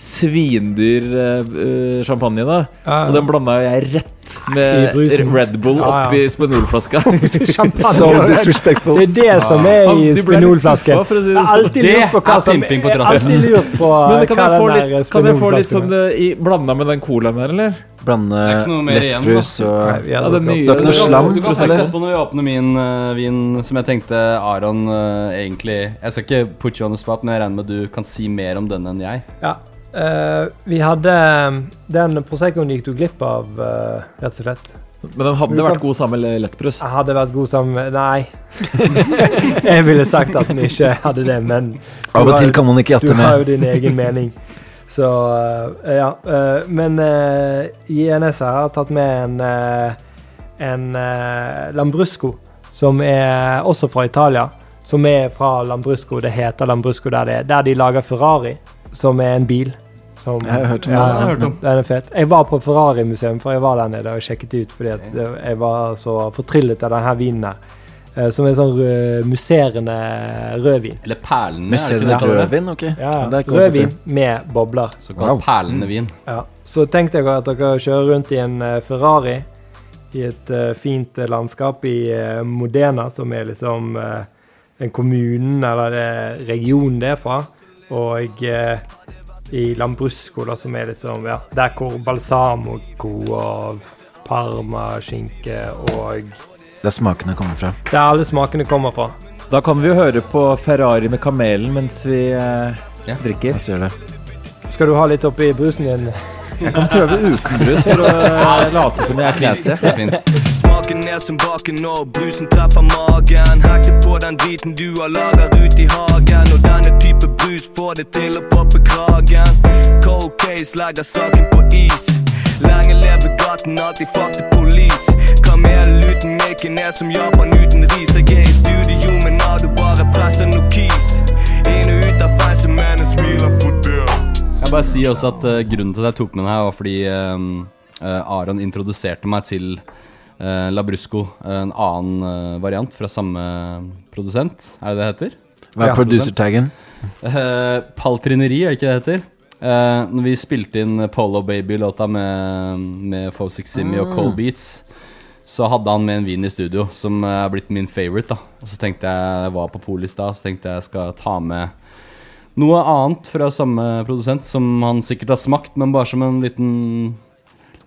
svindyr eh, eh, champagne, da. Ja, ja. Og den blanda jo jeg rett I med brusen. Red Bull Ja, ja. oppi (laughs) Spanolflaska. Champagne. Det er det som er i spinolflasken. Jeg har sånn. alltid lurt på hva som jeg har alltid lurt (laughs) på Men kan hva jeg få den der litt, kan jeg få litt spinolflasken sånn eh, i, blanda med den colaen der, eller? Blande Det er ikke noe mer igjen, lettbrus da. og- Nei, vi hadde Det drukket er opp. ikke noe slam? Du kan Prosecco. tenke på når vi åpner min eh, vin, som jeg tenkte Aron eh, egentlig Jeg skal ikke put you on the spot, men jeg regner med du kan si mer om denne enn jeg. Ja. eh, vi hadde um, Den Proseccoen gikk du glipp av, eh, rett og slett. Men den hadde vært god sammen med lettbrus? Jeg hadde vært god sammen med Nei. (laughs) jeg ville sagt at den ikke hadde det, men Av og du har til jo- kan man ikke jatte Du har jo med. din egen (laughs) mening. Så eh, ja. eh, men uh, INS her har tatt med en, eh, en eh, Lambrusco, som er også fra Italia. Som er fra Lambrusco, det heter Lambrusco der det er. Der de lager Ferrari, som er en bil. Som, Jeg har hørt om Ja, den. ja, Jeg har hørt om. Den er fet. Jeg var på Ferrari-museum, for jeg var der nede og sjekket det ut fordi at det- jeg var så fortryllet av denne vinen her. eh, Som er sånn uh, musserende rødvin. Eller perlene. Musserende rødvin, ok. Ja, Ja, det er kult, rødvin det. med bobler. Såkalt perlende vin. Ja. Så tenk dere at dere kjører rundt i en eh, Ferrari i et eh, fint eh, landskap i eh, Modena, som er liksom eh, den kommunen eller det regionen det er fra, og eh, i Lambrusco, da, som er liksom ja, der hvor balsamico og parmaskinke og Der smakene kommer fra. Der alle smakene kommer fra. Da kan vi jo høre på Ferrari med Kamelen mens vi eh, drikker. Jeg ser det. Skal du ha litt oppi brusen din? Jeg kan prøve uten brus for å (laughs) eh, late som jeg er classy. Smaken er som baken når brusen treffer magen. Hekte på den driten du har lagret ut i hagen. Og denne type brus får det til å poppe kragen. Cold case legger saken på is. Lenge lever gaten, alltid fuck the police. Kamel uten maken er som Japan uten ris. Jeg er i studio, men har du bare presser noe kis? Inn og ut av fengsel, men jeg smiler for det. Jeg bare sier også at eh, grunnen til at jeg tok med den her, var fordi eh, eh, Aron introduserte meg til eh, Labrusco, en annen eh, variant fra samme produsent. Er det det heter? Hva er Ja. producer-taggen? Eh, Paltrineri, er det ikke det heter? Eh, når vi spilte inn Polo Baby-låta med, med Fosix Simi og Ah. Cole Beats, så hadde han med en vin i studio som eh, er blitt min favorite. da Og så tenkte jeg jeg var på Polis da, så tenkte jeg jeg skal ta med noe annet fra samme produsent, som han sikkert har smakt, men bare som en liten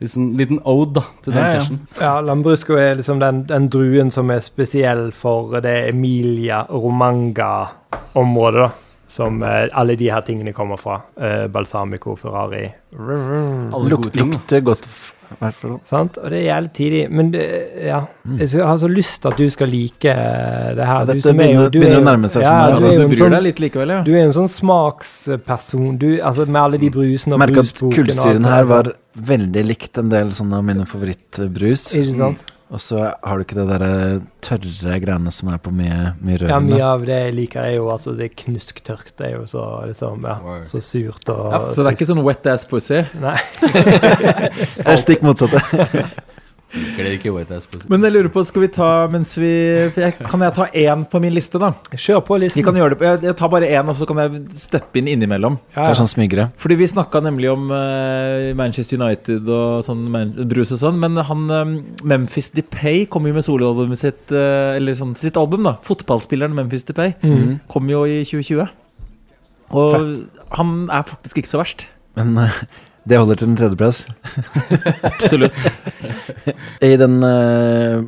Liten, liten ode da, til den Ja, ja. session. Ja, Lambrusco er liksom den, den druen som er spesiell for det Emilia Romanga-området, da. Som eh, alle de her tingene kommer fra. Eh, balsamico, Ferrari Alle Luk- gode ting, da. lukter godt, i hvert fall. Sant? Og det er jævlig tidlig. Men det, ja Jeg skal- har så lyst til at du skal like eh, det Mm. Ja, her. Du dette som er jo- begynner- du er begynner å jo- nærme seg for ja, meg, du altså. er jo Du en bryr sånn- deg litt likevel, ja. Du er en sånn smaksperson. Du, altså, med alle de brusene og Merker at brusboken og alt kullsyren det her der, var veldig likt en del sånne av mine favorittbrus. Ikke sant? Og så har du ikke det derre tørre greiene som er på mye, mye Ja, rødvin. mye da. av det jeg liker, er jo altså det er knusktørt. Det er jo så, liksom, ja, så surt og Ja, så det er ikke sånn wet ass pussy? Nei. (laughs) Det er stikk motsatte. Liker dere ikke White Ass Pussy? Men jeg lurer på, skal vi ta mens vi for jeg, Kan jeg ta én på min liste, da? Kjør på listen. Vi Mm. kan gjøre det, på- jeg, jeg tar bare én, og så kan jeg steppe inn innimellom. Det er sånn smigre. Fordi vi snakka nemlig om eh, Manchester United og sånn man, brus og sånn, men han eh, Memphis DePay kom jo med soloalbumet sitt, eh, eller sånn sitt album, da. Fotballspilleren Memphis DePay Mhm. kom jo i 2020. Og han er faktisk ikke så verst. Men eh, det holder til en tredjeplass. Absolutt. I den uh,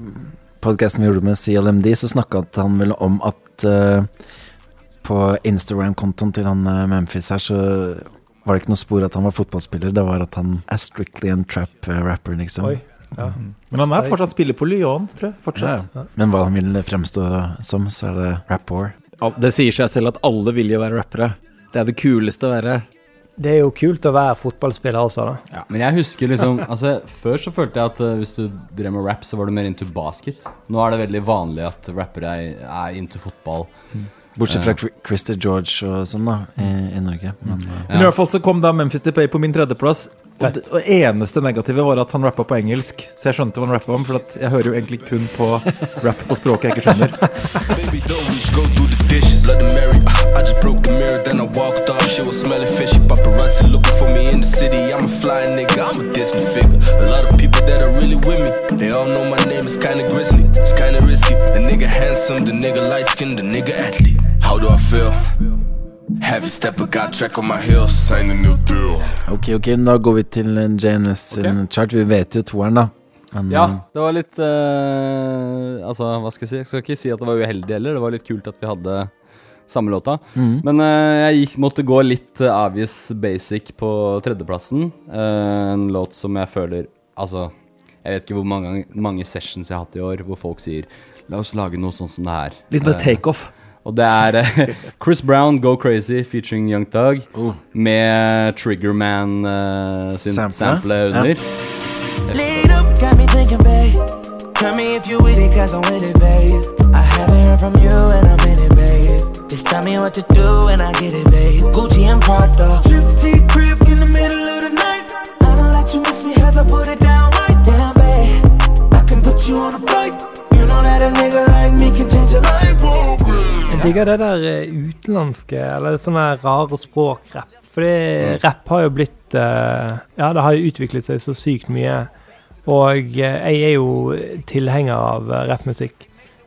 podkasten vi gjorde med CLMD, så snakka han vel om at eh, på Instagram-kontoen til han eh, Memphis her, så var det ikke noe spor at han var fotballspiller. Det var at han er strictly en trap-rapper, liksom. Oi, ja. (laughs) Men han er fortsatt spiller på Lyon, tror jeg. Fortsatt. Ja, ja. Men hva han vil fremstå som, så er det rap-war. Ja, Det sier seg selv at alle vil jo være rappere. Det er det kuleste å være. Det er jo kult å være fotballspiller også, da. Men jeg husker (laughs) liksom altså, Før så følte jeg at eh, hvis du drev med rap, så var du mer into basket. Nå er det veldig vanlig at rappere er, er into fotball. Bortsett fra Eh, Chri- Christer George og sånn, da, i, i Norge. Mm. Men, eh, Men i hvert fall så kom da Memphis Depay på min tredjeplass. Og det og eneste negative var at han rappa på engelsk. Så jeg skjønte hva han rappa om, for at jeg hører jo egentlig kun på (laughs) rap på språket jeg ikke skjønner. Baby, though we should go through the dishes, let them marry. I just broke the mirror, then I walked off. She was smelling fishy, paparazzi looking for me in the city. I'm a flying nigga, I'm a Disney figure. A lot of people that are really with me, they all know my name is kinda grisly, it's kinda risky. The nigga handsome, the nigga light skinned, the nigga athlete. How do I feel? Heavy stepper got track on my heels, sign a new deal. Ok, ok, men da går vi til eh, JNS sin chart. Vi vet jo toeren, da. Men, Ja, eh, det var litt eh, Altså, hva skal jeg si? Jeg skal ikke si at det var uheldig heller. Det var litt kult at vi hadde samme låta. Mhm. Men eh, jeg gikk, måtte gå litt uh, obvious basic på tredjeplassen. Eh, en låt som jeg føler Altså, jeg vet ikke hvor mange, gang- mange sessions jeg har hatt i år hvor folk sier La oss lage noe sånn som det her. Litt mer Eh, takeoff. og det er eh, (laughs) Chris Brown, Go Crazy, featuring Young Thug, Oh. med Triggerman uh, sin Sample. sample, under. Lead up, got me thinking, babe. Tell me if you with it, cause I'm with it, babe. I haven't heard from you and I'm in it, babe. Just tell me what to do and I get it, babe. Gucci and Prada. Tripsy crib in the middle of the night. I know that you miss me cause I put it down right. Damn, babe. I can put you on a flight. You know that a nigga like me can change your life, oh, babe. Jeg digger det der eh, utenlandske, eller sånne rare språkrapp. Fordi rapp har jo blitt eh, Ja, det har jo utviklet seg så sykt mye. Og eh, jeg er jo tilhenger av eh, rappmusikk.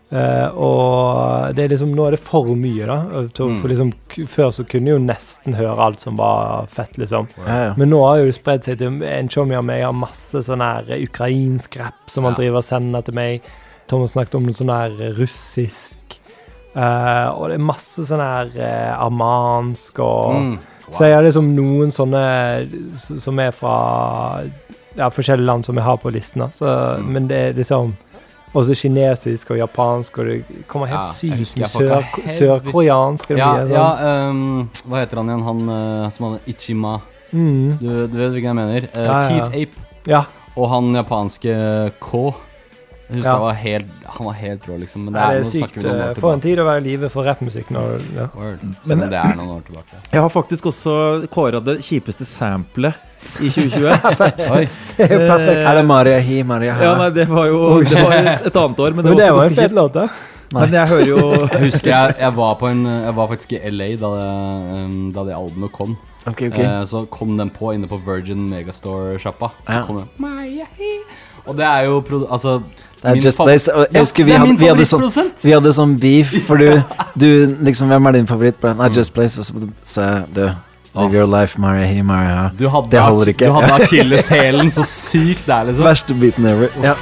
Eh, og det er liksom, nå er det for mye, da. Jeg tror, Mm. For liksom, k- før så kunne jeg jo nesten høre alt som var fett, liksom. Ja, (laughs) ja. Men nå har jo det spredd seg til en chommy av meg har masse sånn her ukrainsk rapp som han driver og sender til meg. Thomas snakket om noe sånn her russisk. Eh, og det er masse sånn her eh, armansk og Mm. Så jeg har liksom noen sånne s- som er fra ja, forskjellige land som jeg har på listen. da. Så, Mm. Men det er liksom også kinesisk og japansk, og det kommer helt Ja, jeg sykt husker mye jeg fucka sør- helvete- sørkoreansk. ja, Sør ja, ehm, hva heter han igjen? Han eh, som hadde Ichima. Mm. Du, du vet hvilken jeg mener? Ja, ja, Eh, ja. Keith Ape. Ja. Og han japanske eh, K. Jeg husker Ja. han var helt, han var helt rå, liksom. Men det Nei, er, det er nå snakker sykt vi noen eh, år for en tid å være i live for rappmusikk. når- Ja. tilbake. Selv om det er noen år tilbake. (laughs) Jeg har faktisk også kåra det kjipeste samplet i (laughs) 2020. Fett. Oi. Det er jo perfekt. Eh, Er det Maria Hi, Maria Ha? Ja, nei, det var jo det var et annet år, men det, var også ganske kjipt. Men jeg hører jo Jeg husker jeg, jeg, var på en, jeg var faktisk i LA da det, um, da det albumet kom. Ok, ok. Eh, så kom den på inne på Virgin Megastore-sjappa. Så Ja. kom den. Og det er jo produ... Altså Det er min Just fav- Blaze. Og Ja, Jeg husker det vi, er hadde, min vi, hadde sånn, favorittprodusent. vi hadde sånn beef, (laughs) for du, du liksom Hvem er din favoritt? Brian? Nei, Just Blaze. Og så sa jeg du Live your life, Maria Hi, Maria Ha. Ah. Du hadde, Det holder ikke. Du hadde akilleshælen så sykt der, liksom. (laughs) Verste beaten ever. Ja.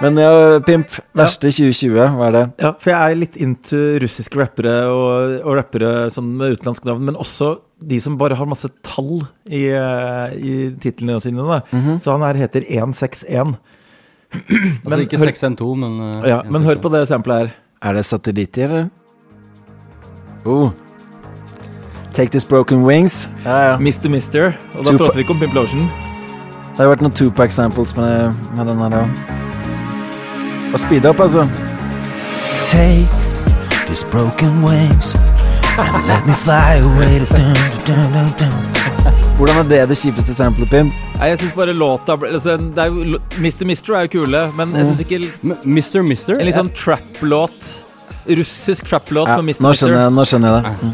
Men ja, Pimp. Verste 2020, hva er det? (laughs) Ja, for jeg er litt into russiske rappere og, og rappere sånn med utenlandske navn, men også de som bare har masse tall i, eh, i titlene sine. Da. Så han her heter 161. Altså ikke 612, men eh, ja, Men hør på det eksempelet her. Er det satellitter, eller? Oh. Take This Broken Wings. Ja, ja. Mr. Mister. Og da Tupac- prater vi ikke om Pimplotion. Det har vært noen Tupac-samples med, med den her òg. Og speed up, altså. Take these broken wings Let me fly away dun, dun, dun, dun. Hvordan er det det kjipeste samplet, Pim? Nei, jeg syns bare låta ble- altså, det er jo, lo- Mr. Mister er jo kule, men jeg syns ikke Mm. Mr. Mister? En litt sånn trap-låt. Russisk trap-låt Ja, med Mr. nå, skjønner jeg, nå skjønner jeg det.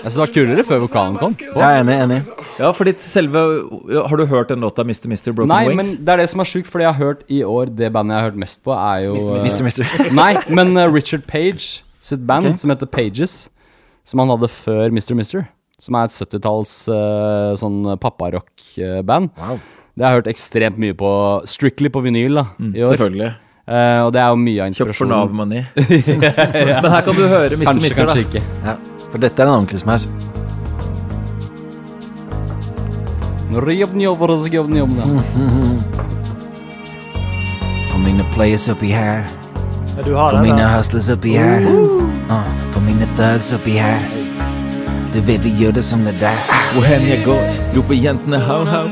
Jeg syns det var kulere før vokalen kom. Jeg er enig. enig Ja, fordi selve Har du hørt den låta Mr. Mister Broken Nei, men Wings? det er det som er sjukt, fordi jeg har hørt i år Det bandet jeg har hørt mest på, er jo Mr. eh, Mister Mister. Nei, men eh, Richard Page sitt band Ok. som heter Pages, som han hadde før Mr. Mister. Som er et 70-talls eh, sånn papparock-band. Det har jeg hørt ekstremt mye på, strictly på vinyl, da, Mm, i år. selvfølgelig. Eh, og det er jo mye av Kjøpt for inspirasjonen. Nav-money. Men her kan du høre Mr. Kanskje, Mister, da. Kanskje ikke. Ja, for dette er en ordentlig smash. For mine players oppi her. Ja, du har For den, mine da. hustlers oppi her. Ah, For mine thugs oppi her. Du vil vi gjør det som det der. Hvor hen jeg går, roper jentene ho-ho.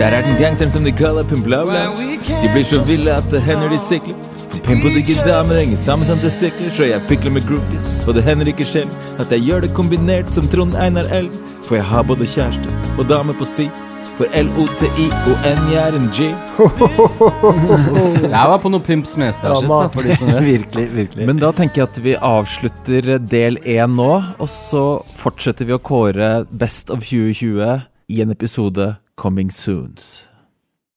Der er den gangsteren som de kaller Pimblaulau. De blir så ville at det hender de sikler. For Pimpo digger damer, henger sammen som testikler. Så jeg fikler med groupies, og det hender ikke selv at jeg gjør det kombinert som Trond Einar Elv. For jeg har både kjæreste og dame på si. For L-O-T-I-O-N, jeg er en G. Det her var på noe Pimp Smestad-shit. da, for de som vet. Men da tenker jeg at vi avslutter del én nå, og så fortsetter vi å kåre Best of 2020 i en episode Coming Soons.